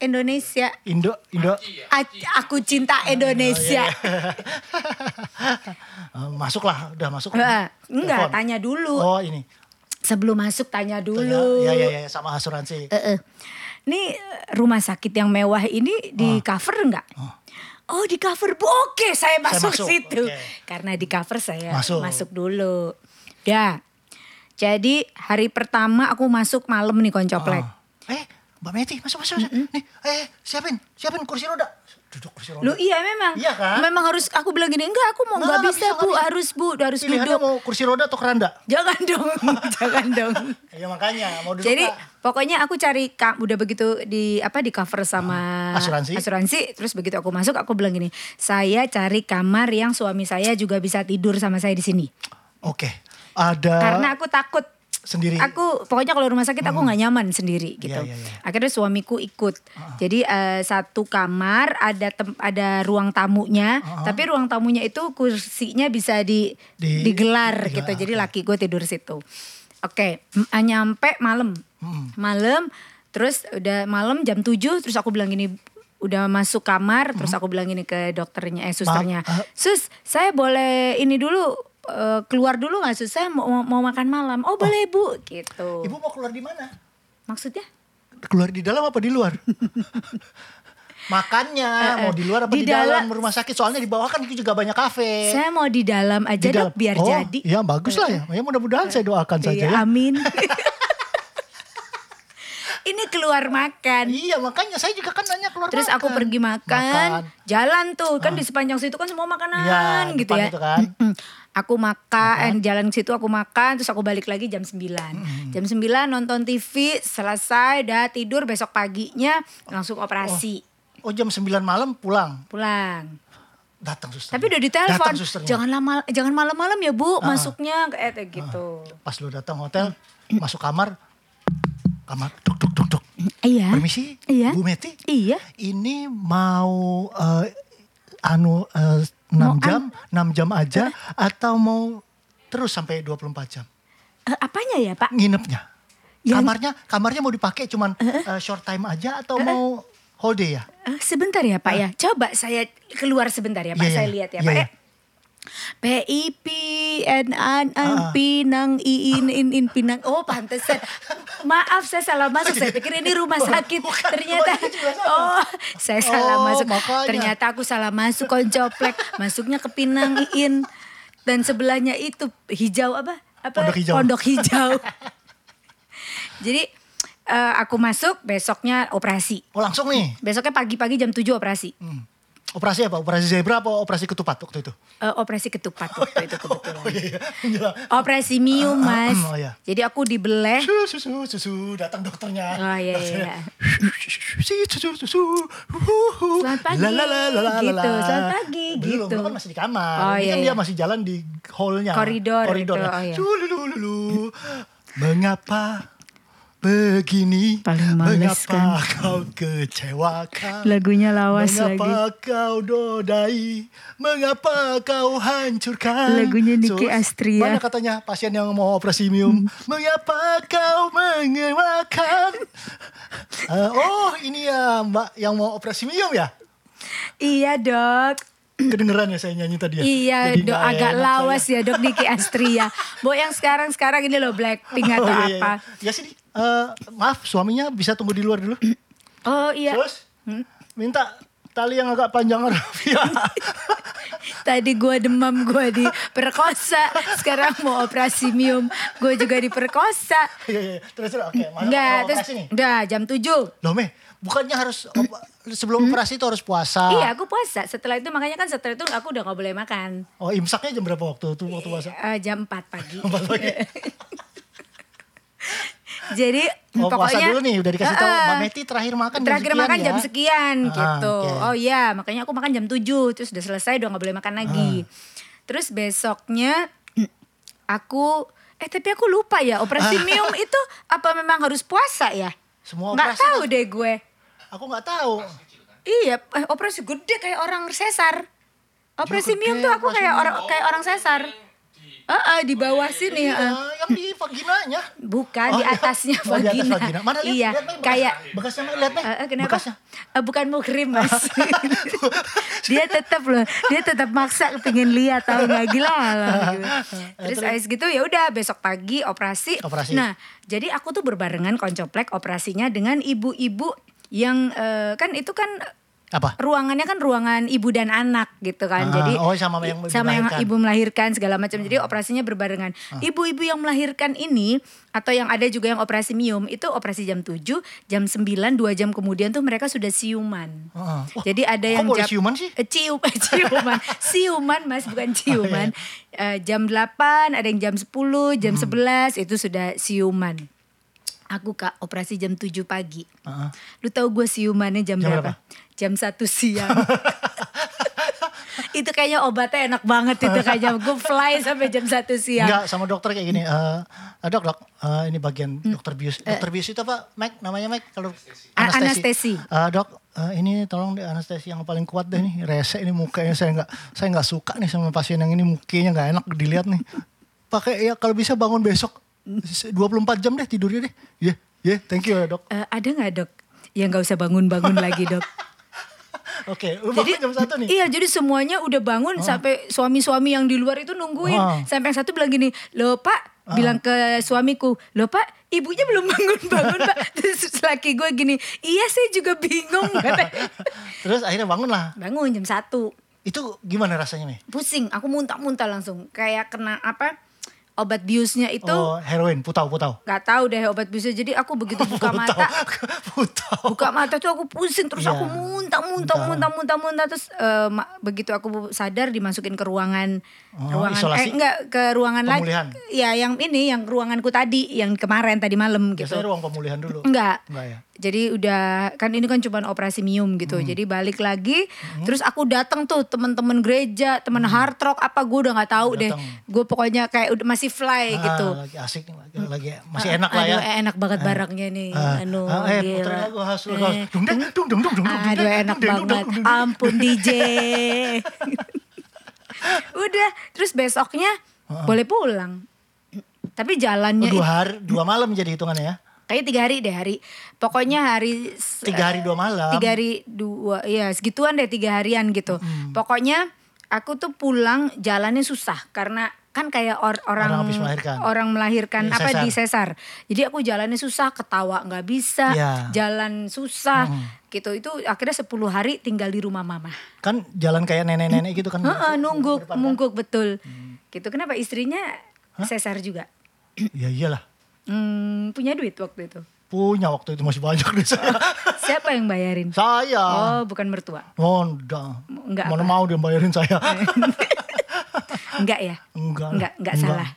Speaker 2: Indonesia.
Speaker 1: Indo, Indo. [laughs]
Speaker 2: A- aku
Speaker 1: Oh,
Speaker 2: cinta
Speaker 1: iya,
Speaker 2: Indonesia.
Speaker 1: Eh, Masuklah, udah masuk.
Speaker 2: Heeh. Enggak,
Speaker 1: Telepon.
Speaker 2: tanya dulu.
Speaker 1: Oh ini.
Speaker 2: Sebelum masuk tanya dulu.
Speaker 1: Iya, iya, iya, sama asuransi.
Speaker 2: Eh, eh. Nih rumah sakit yang mewah ini di cover enggak? Oh di cover bu, oke saya masuk,
Speaker 1: masuk,
Speaker 2: situ
Speaker 1: oke.
Speaker 2: karena di cover saya
Speaker 1: Masuk.
Speaker 2: masuk, dulu. Ya, jadi hari pertama aku masuk malam nih koncoplek.
Speaker 1: Ah. Eh, Mbak Meti, masuk, masuk, masuk. Nih, eh, siapin, siapin kursi roda. Duduk kursi roda.
Speaker 2: Lu iya memang,
Speaker 1: Iya kan?
Speaker 2: memang harus aku bilang gini enggak aku mau
Speaker 1: Nggak,
Speaker 2: nggak
Speaker 1: nggak
Speaker 2: bisa,
Speaker 1: bisa,
Speaker 2: bu
Speaker 1: nggak bisa.
Speaker 2: harus bu harus
Speaker 1: Pilihannya
Speaker 2: duduk.
Speaker 1: mau kursi roda atau keranda?
Speaker 2: Jangan
Speaker 1: [laughs]
Speaker 2: dong, jangan dong.
Speaker 1: Ya makanya, mau duduk
Speaker 2: Jadi
Speaker 1: nggak?
Speaker 2: pokoknya aku cari ka- udah begitu di apa di cover sama
Speaker 1: Ah, asuransi.
Speaker 2: terus begitu aku masuk aku bilang gini, saya cari kamar yang suami saya juga bisa tidur sama saya di sini.
Speaker 1: Oke, ada
Speaker 2: Karena aku takut
Speaker 1: sendiri. Hmm.
Speaker 2: Aku pokoknya kalau rumah sakit aku nggak nyaman sendiri gitu.
Speaker 1: Iya, iya, iya. Ah.
Speaker 2: Akhirnya suamiku ikut. Jadi eh, satu kamar ada tem- ada ruang tamunya,
Speaker 1: Ah.
Speaker 2: tapi ruang tamunya itu kursinya bisa di,
Speaker 1: Di-
Speaker 2: digelar
Speaker 1: digelar,
Speaker 2: gitu. Jadi laki gue tidur situ. Oke, m- ah, nyampe malam.
Speaker 1: Hmm.
Speaker 2: Malam terus udah malam jam 7 terus aku bilang gini udah masuk kamar
Speaker 1: Hmm.
Speaker 2: terus aku bilang gini ke dokternya eh susternya.
Speaker 1: eh.
Speaker 2: Sus, saya boleh ini dulu eh, keluar dulu nggak Sus? Saya mau, mau makan malam. Oh, boleh Bu, gitu.
Speaker 1: Ibu mau keluar di mana?
Speaker 2: Maksudnya?
Speaker 1: Keluar di dalam apa
Speaker 2: [laughs]
Speaker 1: di luar? Makannya mau di luar apa
Speaker 2: Eh, Di
Speaker 1: di, dalam
Speaker 2: dalam.
Speaker 1: rumah sakit? Soalnya di bawah kan juga banyak kafe.
Speaker 2: Saya mau di dalam aja
Speaker 1: Di
Speaker 2: dok
Speaker 1: dalam.
Speaker 2: biar
Speaker 1: oh,
Speaker 2: jadi.
Speaker 1: Ya bagus lah ya. Ya mudah-mudahan saya doakan saja
Speaker 2: Iya,
Speaker 1: ya. [laughs]
Speaker 2: amin. [laughs] ini keluar makan.
Speaker 1: Iya makanya saya juga kan nanya keluar
Speaker 2: Terus aku
Speaker 1: makan. Ah.
Speaker 2: pergi makan, jalan tuh kan di sepanjang situ kan semua
Speaker 1: Iya,
Speaker 2: makanan gitu
Speaker 1: depan
Speaker 2: ya.
Speaker 1: itu kan.
Speaker 2: Mm. Aku makan, jalan ke situ aku makan, terus aku balik lagi jam 9. Jam 9 nonton TV, selesai, udah tidur, besok paginya langsung operasi.
Speaker 1: Oh jam 9 malam pulang.
Speaker 2: Pulang.
Speaker 1: Datang suster.
Speaker 2: Tapi udah ditelepon,
Speaker 1: Datang susternya. Ah.
Speaker 2: jangan lama jangan malam-malam ya, Bu, masuknya kayak gitu.
Speaker 1: Pas lu datang hotel, masuk kamar. Kamar duk duk duk duk.
Speaker 2: Iya.
Speaker 1: Permisi,
Speaker 2: Iya.
Speaker 1: Bu Meti.
Speaker 2: Iya.
Speaker 1: Ini mau eh, anu eh, 6
Speaker 2: Mau an-
Speaker 1: jam, 6 jam aja atau mau terus sampai 24 jam?
Speaker 2: Eh, apanya ya, Pak?
Speaker 1: Nginepnya.
Speaker 2: Ya,
Speaker 1: Kamarnya kamarnya mau dipakai cuman eh, short time aja atau mau whole day ya?
Speaker 2: Eh, sebentar ya Pak ya. Coba saya keluar sebentar ya Pak.
Speaker 1: Iya, iya,
Speaker 2: saya lihat ya
Speaker 1: iya,
Speaker 2: Pak.
Speaker 1: iya.
Speaker 2: ya. PIP N An An
Speaker 1: Ah, ah.
Speaker 2: Pinang I In In In Pinang. Oh pantesan. Maaf saya salah masuk. Saya pikir ini rumah sakit.
Speaker 1: bukan,
Speaker 2: Ternyata
Speaker 1: rumah sakit juga sama.
Speaker 2: oh saya salah
Speaker 1: Oh,
Speaker 2: masuk.
Speaker 1: makanya.
Speaker 2: Ternyata aku salah masuk koncoplek. Masuknya ke Pinang Iin dan sebelahnya itu hijau apa? Apa?
Speaker 1: Pondok hijau.
Speaker 2: Pondok hijau. Jadi eh, aku masuk besoknya operasi.
Speaker 1: Oh langsung nih.
Speaker 2: Besoknya pagi-pagi jam 7 operasi.
Speaker 1: Hmm. Operasi apa? Operasi zebra apa operasi ketupat waktu itu? [laughs]
Speaker 2: Eh, operasi ketupat waktu itu kebetulan.
Speaker 1: Oh iya, iya. Menjelang.
Speaker 2: Operasi miu mas.
Speaker 1: oh, iya.
Speaker 2: Jadi aku
Speaker 1: [laughs]
Speaker 2: dibeleh.
Speaker 1: Susu, susu, susu, datang dokternya.
Speaker 2: Eh. Oh, iya, iya,
Speaker 1: Dokternya,
Speaker 2: iya.
Speaker 1: "Susu, susu, susu, huhu."
Speaker 2: Selamat pagi,
Speaker 1: La, la, la, la, la,
Speaker 2: gitu.
Speaker 1: la.
Speaker 2: Selamat pagi,
Speaker 1: Belum,
Speaker 2: gitu.
Speaker 1: kan masih di kamar.
Speaker 2: Oh,
Speaker 1: Ini
Speaker 2: iya,
Speaker 1: kan
Speaker 2: iya.
Speaker 1: dia masih jalan di hallnya.
Speaker 2: Koridor gitu,
Speaker 1: Koridornya.
Speaker 2: oh, iya.
Speaker 1: Su, lulu, lulu, lulu. Mengapa begini.
Speaker 2: Paling males
Speaker 1: mengapa
Speaker 2: kan.
Speaker 1: kau kecewakan?
Speaker 2: Lagunya lawas
Speaker 1: mengapa
Speaker 2: lagi.
Speaker 1: kau dodai? Mengapa kau hancurkan?
Speaker 2: Lagunya Nicky
Speaker 1: Sus,
Speaker 2: Astria. Hmm.
Speaker 1: Mana katanya pasien yang mau operasi mium? Mengapa kau mengewakan? Eh, oh ini ya mbak yang mau operasi mium ya?
Speaker 2: Iya dok.
Speaker 1: Kedengeran ya saya nyanyi tadi ya?
Speaker 2: Iya
Speaker 1: Jadi
Speaker 2: dok
Speaker 1: nggak
Speaker 2: agak
Speaker 1: enak
Speaker 2: lawas
Speaker 1: saya.
Speaker 2: ya dok Niki Astria. Bo yang sekarang-sekarang ini loh Blackpink atau
Speaker 1: Oh, iya, iya.
Speaker 2: apa.
Speaker 1: Ya sini, eh, maaf suaminya bisa tunggu di luar dulu.
Speaker 2: Oh iya.
Speaker 1: Terus minta tali yang agak panjang [laughs]
Speaker 2: [laughs]
Speaker 1: Rafia.
Speaker 2: Tadi gua demam gua diperkosa. Sekarang mau operasi mium. Gue juga diperkosa.
Speaker 1: Iya, iya. Terus terus oke, Oh, eh, mana
Speaker 2: Enggak
Speaker 1: mau
Speaker 2: terus
Speaker 1: operasi nih?
Speaker 2: udah jam 7.
Speaker 1: Loh meh, bukannya
Speaker 2: [clears throat]
Speaker 1: harus op- sebelum operasi itu harus puasa.
Speaker 2: Hmm? Iya aku puasa. Setelah itu makanya kan setelah itu aku udah gak boleh makan.
Speaker 1: Oh imsaknya jam berapa waktu tuh waktu puasa?
Speaker 2: Eh, jam 4
Speaker 1: [laughs]
Speaker 2: pagi.
Speaker 1: Empat
Speaker 2: [laughs]
Speaker 1: pagi.
Speaker 2: Jadi
Speaker 1: Oh puasa
Speaker 2: pokoknya
Speaker 1: dulu nih, udah dikasih tahu
Speaker 2: Heeh.
Speaker 1: Mbak Meti terakhir makan jam
Speaker 2: Terakhir
Speaker 1: sekian
Speaker 2: makan
Speaker 1: ya.
Speaker 2: jam sekian
Speaker 1: Ah,
Speaker 2: gitu.
Speaker 1: oke.
Speaker 2: Oh iya, makanya aku makan jam 7 terus udah selesai udah nggak boleh makan
Speaker 1: Ah.
Speaker 2: lagi. Terus besoknya aku eh tapi aku lupa ya operasi mium itu apa memang harus puasa ya?
Speaker 1: Ah. Semua
Speaker 2: nggak
Speaker 1: operasi
Speaker 2: tahu deh gue.
Speaker 1: Aku nggak tahu.
Speaker 2: Iya, eh, operasi gede kayak orang sesar. Operasi
Speaker 1: gede,
Speaker 2: mium tuh aku
Speaker 1: operasi
Speaker 2: kayak
Speaker 1: mium.
Speaker 2: orang kayak orang sesar. Heeh, di bawah sini.
Speaker 1: Ya,
Speaker 2: heeh.
Speaker 1: yang di vaginanya.
Speaker 2: Bukan
Speaker 1: Oh,
Speaker 2: di
Speaker 1: iya.
Speaker 2: atasnya
Speaker 1: Oh, di
Speaker 2: vagina.
Speaker 1: atas vagina. Mana lihat,
Speaker 2: iya,
Speaker 1: lihat, ya? Mei, bekas-
Speaker 2: kayak
Speaker 1: bekasnya Mei, lihat Mei.
Speaker 2: Eh, eh, kenapa?
Speaker 1: Bekasnya.
Speaker 2: Eh, bukan mukrim
Speaker 1: [laughs]
Speaker 2: mas. [laughs] dia tetap loh, dia tetap maksa kepingin lihat tahu nggak gila lah.
Speaker 1: [laughs]
Speaker 2: gitu.
Speaker 1: Eh,
Speaker 2: Terus abis gitu ya udah besok pagi operasi.
Speaker 1: Operasi.
Speaker 2: Nah jadi aku tuh berbarengan koncoplek operasinya dengan ibu-ibu yang eh, kan itu kan
Speaker 1: Apa?
Speaker 2: ruangannya kan ruangan ibu dan anak gitu kan.
Speaker 1: Ah,
Speaker 2: Jadi
Speaker 1: oh, sama yang ibu
Speaker 2: sama yang
Speaker 1: melahirkan. Ah.
Speaker 2: ibu melahirkan segala macam. Jadi operasinya berbarengan. Ibu-ibu yang melahirkan ini atau yang ada juga yang operasi mium itu operasi jam 7, jam 9, 2 jam kemudian tuh mereka sudah siuman.
Speaker 1: Heeh. Ah. Wah,
Speaker 2: Jadi ada
Speaker 1: kok
Speaker 2: yang
Speaker 1: boleh
Speaker 2: jam-
Speaker 1: siuman sih? Oh,
Speaker 2: Eh, cium [laughs] ciuman. siuman Mas
Speaker 1: [laughs]
Speaker 2: bukan ciuman.
Speaker 1: iya.
Speaker 2: Eh, jam 8, ada yang jam 10,
Speaker 1: Hmm.
Speaker 2: jam 11 itu sudah siuman. Aku Kak operasi jam 7 pagi.
Speaker 1: Heeh.
Speaker 2: Lu tahu gue siumannya jam,
Speaker 1: Jam
Speaker 2: berapa? Jam satu
Speaker 1: [laughs]
Speaker 2: siang. itu kayaknya obatnya enak banget itu kayaknya gue fly sampai jam satu siang.
Speaker 1: Enggak sama dokter kayak gini. Eh eh, dok dok, eh, ini bagian dokter bius. Dokter bius itu apa? Mac namanya Mac kalau
Speaker 2: A- Hmm. Eh. anestesi.
Speaker 1: Eh, dok, eh, ini tolong di anestesi yang paling kuat deh nih. Rese ini mukanya saya nggak saya nggak suka nih sama pasien yang ini mukanya nggak enak dilihat nih. Pakai ya kalau bisa bangun besok 24 jam deh tidurnya deh. Ya, ya, thank you ya dok.
Speaker 2: Eh, ada nggak dok? Ya nggak usah bangun-bangun lagi
Speaker 1: [laughs]
Speaker 2: dok.
Speaker 1: Oke, lu bangun jam satu nih.
Speaker 2: Iya, jadi semuanya udah bangun sampai suami-suami yang di luar itu nungguin.
Speaker 1: Oh.
Speaker 2: Sampai yang satu bilang gini, "Loh, Pak," bilang ke suamiku, "Loh, Pak, ibunya belum bangun-bangun, Pak." [laughs] Terus laki gue gini, "Iya, saya juga bingung."
Speaker 1: [laughs]
Speaker 2: katanya.
Speaker 1: Terus akhirnya bangun lah.
Speaker 2: bangun jam satu
Speaker 1: Itu gimana rasanya nih?
Speaker 2: pusing aku muntah-muntah langsung kayak kena apa obat biusnya itu
Speaker 1: Oh, heroin, putau, putau.
Speaker 2: nggak tahu deh obat biusnya jadi aku
Speaker 1: [laughs]
Speaker 2: begitu buka
Speaker 1: Putau,
Speaker 2: mata
Speaker 1: putau.
Speaker 2: buka mata tuh aku pusing terus
Speaker 1: Iya.
Speaker 2: aku muntah muntah muntah muntah muntah terus eh, ma- begitu aku sadar dimasukin ke ruangan
Speaker 1: Oh,
Speaker 2: ruangan
Speaker 1: isolasi?
Speaker 2: eh enggak ke ruangan lagi
Speaker 1: Pemulihan.
Speaker 2: ya yang ini yang ruanganku tadi yang kemarin tadi malam gitu
Speaker 1: Biasanya ruang pemulihan dulu.
Speaker 2: Enggak.
Speaker 1: Enggak ya?
Speaker 2: Jadi udah kan ini kan cuman operasi mium gitu.
Speaker 1: Hmm.
Speaker 2: Jadi balik lagi terus aku datang tuh temen-temen gereja,
Speaker 1: Hmm.
Speaker 2: temen hard rock apa gue udah nggak tahu deh. Gue pokoknya kayak udah masih fly
Speaker 1: Ah,
Speaker 2: gitu. Ah,
Speaker 1: Lagi asik, lagi, lagi masih enak lah ya.
Speaker 2: Aduh, eh, enak banget barangnya nih.
Speaker 1: Ah,
Speaker 2: anu,
Speaker 1: ah, eh,
Speaker 2: gila.
Speaker 1: putra aku hasil,
Speaker 2: Eh,
Speaker 1: hasil. Dung, deng, dung, dung, dung, dung, dung,
Speaker 2: Aduh
Speaker 1: deng,
Speaker 2: enak
Speaker 1: dung, deng, dung,
Speaker 2: banget.
Speaker 1: dung, dung, dung.
Speaker 2: Ampun
Speaker 1: [laughs]
Speaker 2: DJ. udah, terus besoknya boleh pulang. Tapi jalannya
Speaker 1: Dua hari, dua malam jadi hitungannya ya.
Speaker 2: Kayaknya tiga hari deh hari. Pokoknya hari se-
Speaker 1: Tiga hari, dua malam.
Speaker 2: eh, tiga hari dua ya segituan deh tiga harian gitu. Pokoknya aku tuh pulang jalannya susah karena kan kayak or- orang
Speaker 1: Orang habis melahirkan.
Speaker 2: orang melahirkan
Speaker 1: Di
Speaker 2: apa
Speaker 1: sesar.
Speaker 2: di sesar. Jadi aku jalannya susah, ketawa nggak bisa,
Speaker 1: Iya.
Speaker 2: jalan susah gitu. Itu akhirnya 10 hari tinggal di rumah mama.
Speaker 1: Kan jalan kayak nenek-nenek gitu kan. Mm.
Speaker 2: Heeh, nungguk, mungguk betul. Gitu. Kenapa istrinya sesar juga?
Speaker 1: Ya iyalah.
Speaker 2: Hmm, punya duit waktu itu.
Speaker 1: Punya waktu itu masih banyak deh saya.
Speaker 2: Siapa yang bayarin?
Speaker 1: saya.
Speaker 2: Oh, bukan mertua.
Speaker 1: Oh, enggak.
Speaker 2: [laughs] Enggak
Speaker 1: Mana mau dia bayarin saya.
Speaker 2: Enggak ya?
Speaker 1: Enggak.
Speaker 2: Enggak, enggak salah.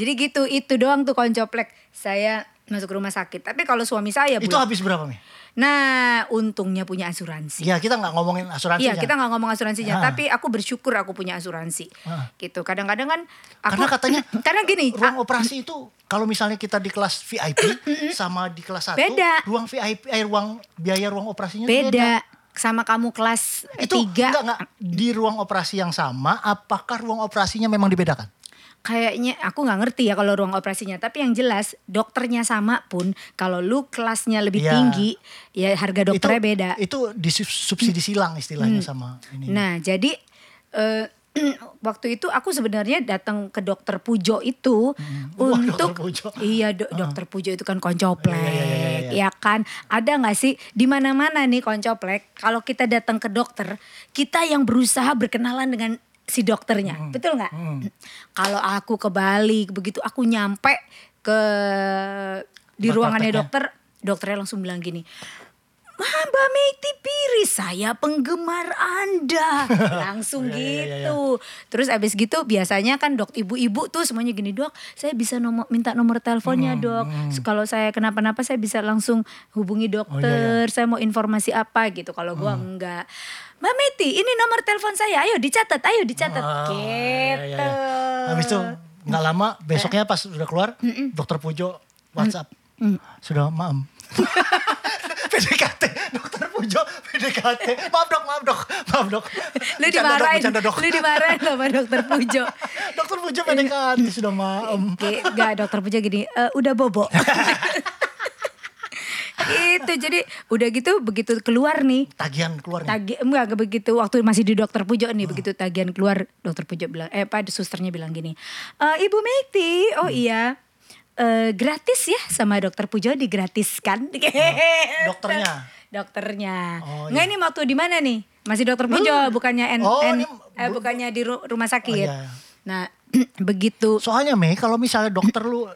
Speaker 2: Jadi gitu, itu doang tuh koncoplek. Saya masuk rumah sakit. Tapi kalau suami saya
Speaker 1: Itu
Speaker 2: Bu,
Speaker 1: habis berapa Mi?
Speaker 2: Nah, untungnya punya asuransi.
Speaker 1: Ya kita nggak ngomongin kan? asuransinya.
Speaker 2: Iya, kita nggak ngomong asuransinya,
Speaker 1: Ah.
Speaker 2: tapi aku bersyukur aku punya asuransi.
Speaker 1: Ah.
Speaker 2: Gitu. Kadang-kadang kan aku
Speaker 1: Karena katanya
Speaker 2: [laughs] karena gini, ah,
Speaker 1: ruang operasi itu kalau misalnya kita di kelas VIP sama di kelas 1
Speaker 2: Beda.
Speaker 1: ruang VIP eh, ruang biaya ruang operasinya tuh beda.
Speaker 2: beda sama kamu kelas
Speaker 1: Itu
Speaker 2: tiga
Speaker 1: enggak, enggak. di ruang operasi yang sama apakah ruang operasinya memang dibedakan?
Speaker 2: kayaknya aku nggak ngerti ya kalau ruang operasinya tapi yang jelas dokternya sama pun kalau lu kelasnya lebih
Speaker 1: Iya.
Speaker 2: tinggi ya harga dokternya
Speaker 1: itu,
Speaker 2: beda
Speaker 1: Itu disubsidi silang istilahnya sama ini.
Speaker 2: nah jadi eh, [clears throat] waktu itu aku sebenarnya datang ke dokter Pujo itu
Speaker 1: Hmm. Wah,
Speaker 2: untuk
Speaker 1: dokter Pujo. Ah.
Speaker 2: iya do- dokter Pujo itu kan koncoplek
Speaker 1: Iya, iya, iya,
Speaker 2: ya
Speaker 1: iya, iya.
Speaker 2: kan ada nggak sih di mana mana nih koncoplek kalau kita datang ke dokter kita yang berusaha berkenalan dengan si dokternya
Speaker 1: Hmm.
Speaker 2: betul nggak [clears throat] kalau aku ke Bali begitu aku nyampe ke di
Speaker 1: Tempat
Speaker 2: ruangannya
Speaker 1: prakteknya.
Speaker 2: dokter dokternya langsung bilang gini "Wah, Mbak Meiti Piri, saya penggemar Anda.
Speaker 1: [laughs]
Speaker 2: Langsung
Speaker 1: Iya, iya, iya,
Speaker 2: gitu. Terus abis gitu biasanya kan dok ibu-ibu tuh semuanya gini, dok saya bisa nomor, minta nomor teleponnya
Speaker 1: Hmm,
Speaker 2: dok. Kalau saya kenapa-napa saya bisa langsung hubungi
Speaker 1: Oh, iya,
Speaker 2: dokter, saya mau informasi apa gitu. Kalau gua
Speaker 1: Hmm.
Speaker 2: enggak. Mbak Meiti ini nomor telepon saya, ayo dicatat, ayo dicatat.
Speaker 1: Ah,
Speaker 2: gitu.
Speaker 1: iya, iya, iya. Habis itu nggak lama besoknya pas sudah keluar dokter Pujo WhatsApp
Speaker 2: Mm. [laughs]
Speaker 1: sudah maam. PDKT dokter Pujo PDKT maaf dok maaf dok maaf dok.
Speaker 2: Lu
Speaker 1: Bercanda, dok,
Speaker 2: dimarahin,
Speaker 1: bercanda, dok.
Speaker 2: lu dimarahin sama dokter Pujo.
Speaker 1: [laughs] Dokter Pujo PDKT sudah maam.
Speaker 2: Oke, enggak dokter Puja gini, "E, udah bobo.
Speaker 1: [laughs]
Speaker 2: itu jadi udah gitu begitu keluar nih
Speaker 1: Tagihan keluar nih.
Speaker 2: tagi enggak begitu waktu masih di dokter Pujo nih
Speaker 1: Hmm.
Speaker 2: begitu tagihan keluar dokter Pujo bilang eh apa susternya bilang gini "E, ibu Meti oh
Speaker 1: Hmm.
Speaker 2: iya eh, gratis ya sama dokter Pujo [laughs] digratiskan
Speaker 1: Oh,
Speaker 2: Gitu.
Speaker 1: dokternya?
Speaker 2: dokternya
Speaker 1: Oh,
Speaker 2: nggak ini waktu di mana nih masih dokter Pujo bukannya N,
Speaker 1: Oh,
Speaker 2: N-
Speaker 1: ini
Speaker 2: eh,
Speaker 1: bu-
Speaker 2: bukannya di ru- rumah sakit
Speaker 1: iya, iya.
Speaker 2: nah [clears throat] begitu
Speaker 1: Soalnya Mei kalau misalnya dokter lu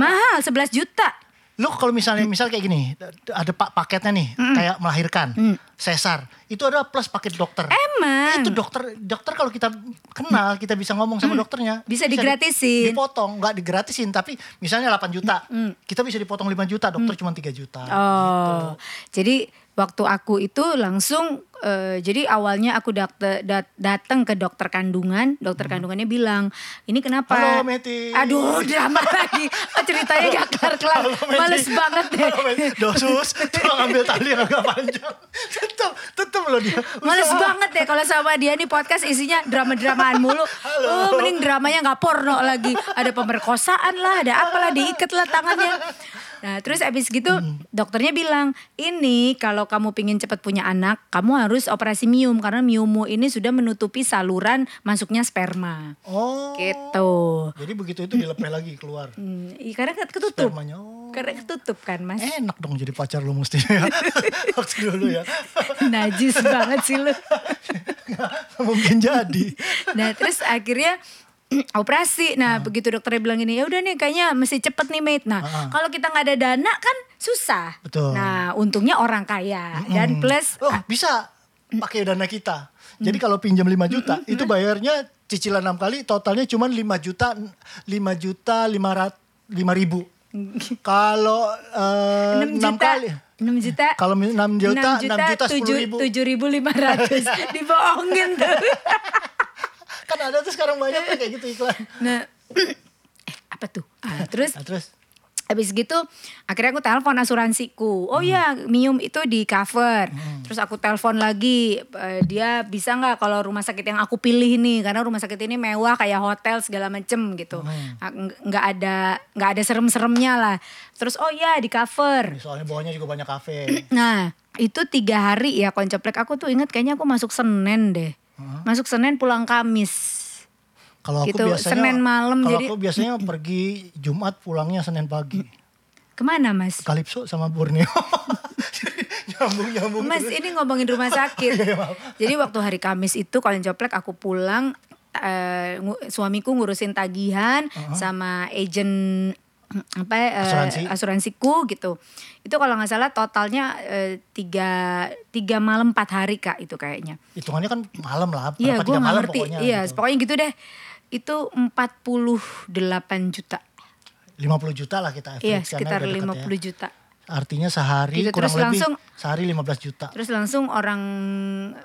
Speaker 2: Mahal 11 juta.
Speaker 1: lu kalau misalnya misal kayak gini ada pak paketnya nih kayak melahirkan sesar itu adalah plus paket dokter
Speaker 2: Mm. Emang.
Speaker 1: itu dokter dokter kalau kita kenal kita bisa ngomong sama dokternya
Speaker 2: Hmm. Bisa
Speaker 1: di-
Speaker 2: digratisin.
Speaker 1: dipotong nggak digratisin tapi misalnya 8 juta kita bisa dipotong 5 juta dokter cuma 3 juta
Speaker 2: Hmm. Oh. Jadi waktu aku itu langsung eh, jadi awalnya aku dakte- dat- datang ke dokter kandungan, dokter kandungannya bilang, "Ini kenapa?"
Speaker 1: Hmm. Halo, Meti.
Speaker 2: Aduh, [laughs] drama lagi. Oh, ceritanya gak kelar-kelar.
Speaker 1: Halo, Meti.
Speaker 2: Males banget deh.
Speaker 1: Halo, Meti. [laughs] dosus tolong ambil tali yang agak panjang [laughs] tetep tetep lo dia
Speaker 2: Males
Speaker 1: Usaha.
Speaker 2: banget deh kalau sama dia nih podcast isinya drama-dramaan mulu. Oh, mending dramanya nggak porno lagi. Ada pemerkosaan lah, ada apalah diikat lah tangannya. Nah terus abis gitu dokternya bilang ini kalau kamu pingin cepat punya anak kamu harus operasi mium karena miummu ini sudah menutupi saluran masuknya sperma
Speaker 1: oh
Speaker 2: gitu.
Speaker 1: jadi begitu itu dilepeh lagi keluar
Speaker 2: Hmm, iya, karena ket- ketutup.
Speaker 1: spermanya oh.
Speaker 2: Karena ketutup kan mas.
Speaker 1: enak dong jadi pacar lu mestinya [laughs] waktu dulu ya [laughs]
Speaker 2: Najis banget sih lu.
Speaker 1: mungkin jadi
Speaker 2: Nah terus akhirnya [clears throat] operasi. Nah begitu dokternya bilang gini, ya udah nih kayaknya mesti cepet nih mate. Nah
Speaker 1: Ah.
Speaker 2: kalau kita nggak ada dana kan susah.
Speaker 1: Betul.
Speaker 2: Nah untungnya orang kaya dan plus
Speaker 1: oh bisa pakai dana kita jadi
Speaker 2: Hmm.
Speaker 1: kalau pinjam 5 juta itu bayarnya cicilan 6 kali totalnya cuma 5 juta 5 juta 500 5
Speaker 2: [laughs]
Speaker 1: ribu kalau eh,
Speaker 2: 6
Speaker 1: enam
Speaker 2: juta.
Speaker 1: kali [laughs]
Speaker 2: 6 juta.
Speaker 1: Kalau min- enam juta,
Speaker 2: enam
Speaker 1: enam juta, sepuluh ribu.
Speaker 2: tujuh ribu lima
Speaker 1: [laughs]
Speaker 2: ratus. Dibohongin tuh.
Speaker 1: kan ada tuh sekarang banyak tuh kayak gitu iklan
Speaker 2: Nah [clears throat] eh, apa tuh? Ah, terus
Speaker 1: nah, terus
Speaker 2: Habis gitu akhirnya aku telepon asuransiku. Oh ya, Mium itu di cover. Terus aku telepon lagi eh, dia bisa nggak kalau rumah sakit yang aku pilih nih karena rumah sakit ini mewah kayak hotel segala macem gitu. Ah, ng- nggak ada nggak ada serem-seremnya lah. Terus oh ya di cover.
Speaker 1: soalnya bawahnya juga banyak kafe
Speaker 2: Nah, itu tiga hari ya koncoplek aku tuh inget kayaknya aku masuk Senin deh. Masuk Senin pulang Kamis.
Speaker 1: kalau aku
Speaker 2: Gitu,
Speaker 1: biasanya
Speaker 2: Senin malam,
Speaker 1: kalau
Speaker 2: jadi-
Speaker 1: aku
Speaker 2: [laughs]
Speaker 1: biasanya pergi Jumat pulangnya Senin pagi
Speaker 2: Kemana mas?
Speaker 1: Kalipso sama Borneo [laughs] nyambung nyambung
Speaker 2: Mas
Speaker 1: terus.
Speaker 2: ini ngomongin rumah
Speaker 1: [laughs]
Speaker 2: sakit.
Speaker 1: Iya,
Speaker 2: Jadi waktu hari Kamis itu kalau coplek aku pulang eh, ngu- suamiku ngurusin tagihan sama agent [clears throat] apa eh,
Speaker 1: Uh-huh. Asuransi.
Speaker 2: asuransiku gitu itu kalau nggak salah totalnya eh, tiga tiga malam empat hari kak itu kayaknya
Speaker 1: Hitungannya kan malam lah.
Speaker 2: iya gue
Speaker 1: berapa, tiga
Speaker 2: nggak
Speaker 1: malam
Speaker 2: ngerti
Speaker 1: pokoknya.
Speaker 2: iya
Speaker 1: gitu.
Speaker 2: pokoknya gitu deh itu 48 juta
Speaker 1: 50 juta lah kita average,
Speaker 2: iya
Speaker 1: karena
Speaker 2: sekitar
Speaker 1: udah dekat
Speaker 2: 50
Speaker 1: ya.
Speaker 2: juta
Speaker 1: Artinya sehari
Speaker 2: Gitu,
Speaker 1: kurang
Speaker 2: terus
Speaker 1: lebih
Speaker 2: langsung-
Speaker 1: sehari 15 juta
Speaker 2: terus langsung orang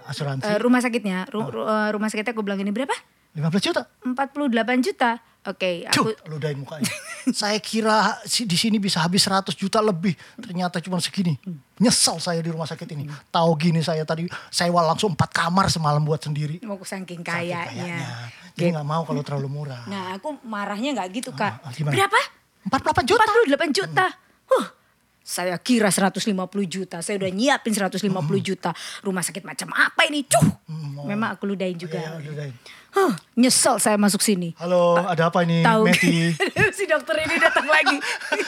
Speaker 1: asuransi. Oh.
Speaker 2: eh, rumah sakitnya ru- ru- eh, rumah sakitnya aku bilang ini berapa
Speaker 1: 15 juta.
Speaker 2: 48 juta oke Ya, aku
Speaker 1: Cuh, ludahin mukanya. [laughs] saya kira si- di sini bisa habis 100 juta lebih. Ternyata cuma segini. Nyesel saya di rumah sakit ini. Tahu gini saya tadi sewa langsung 4 kamar semalam buat sendiri.
Speaker 2: mau saking
Speaker 1: Sakit
Speaker 2: kayanya
Speaker 1: Jadi nggak mau kalau terlalu murah.
Speaker 2: Gitu. nah aku marahnya nggak gitu kak
Speaker 1: ah, gimana?
Speaker 2: berapa
Speaker 1: 48 juta. Hmm.
Speaker 2: 48 juta. Huh, saya kira 150 juta. Saya
Speaker 1: Hmm.
Speaker 2: udah nyiapin 150 juta. Rumah sakit macam apa ini? Cuh. Memang aku ludahin juga.
Speaker 1: Hmm, Iya, ludahin.
Speaker 2: Huh, nyesel saya masuk sini.
Speaker 1: Halo, ada apa ini
Speaker 2: Tahu
Speaker 1: Meti?
Speaker 2: [laughs] si dokter ini datang lagi.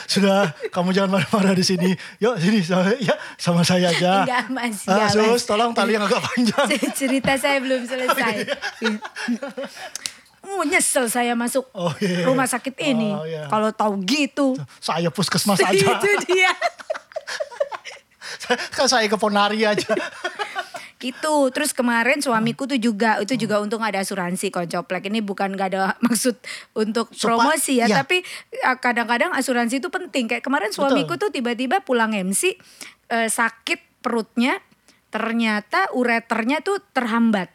Speaker 1: Sudah, kamu jangan marah-marah di sini. Yuk sini sama, ya, sama saya aja.
Speaker 2: Enggak, Mas,
Speaker 1: Ah,
Speaker 2: enggak,
Speaker 1: sus,
Speaker 2: Mas.
Speaker 1: tolong tali yang agak panjang.
Speaker 2: Cerita saya belum
Speaker 1: [laughs]
Speaker 2: selesai. Oh, nyesel saya masuk
Speaker 1: Oh, iya.
Speaker 2: rumah sakit ini.
Speaker 1: Oh, iya.
Speaker 2: Kalau tahu gitu. [laughs]
Speaker 1: Saya puskesmas aja.
Speaker 2: Itu dia.
Speaker 1: [laughs] Kan saya ke Ponari aja.
Speaker 2: Iya, Gitu. Terus kemarin suamiku tuh juga itu juga
Speaker 1: Hmm.
Speaker 2: untung ada asuransi koncoplek. Ini bukan gak ada [laughs] maksud untuk
Speaker 1: Supa-
Speaker 2: promosi ya,
Speaker 1: iya.
Speaker 2: tapi eh, kadang-kadang asuransi itu penting. Kayak kemarin suamiku tuh tiba-tiba pulang MC eh, sakit perutnya, ternyata ureternya tuh terhambat.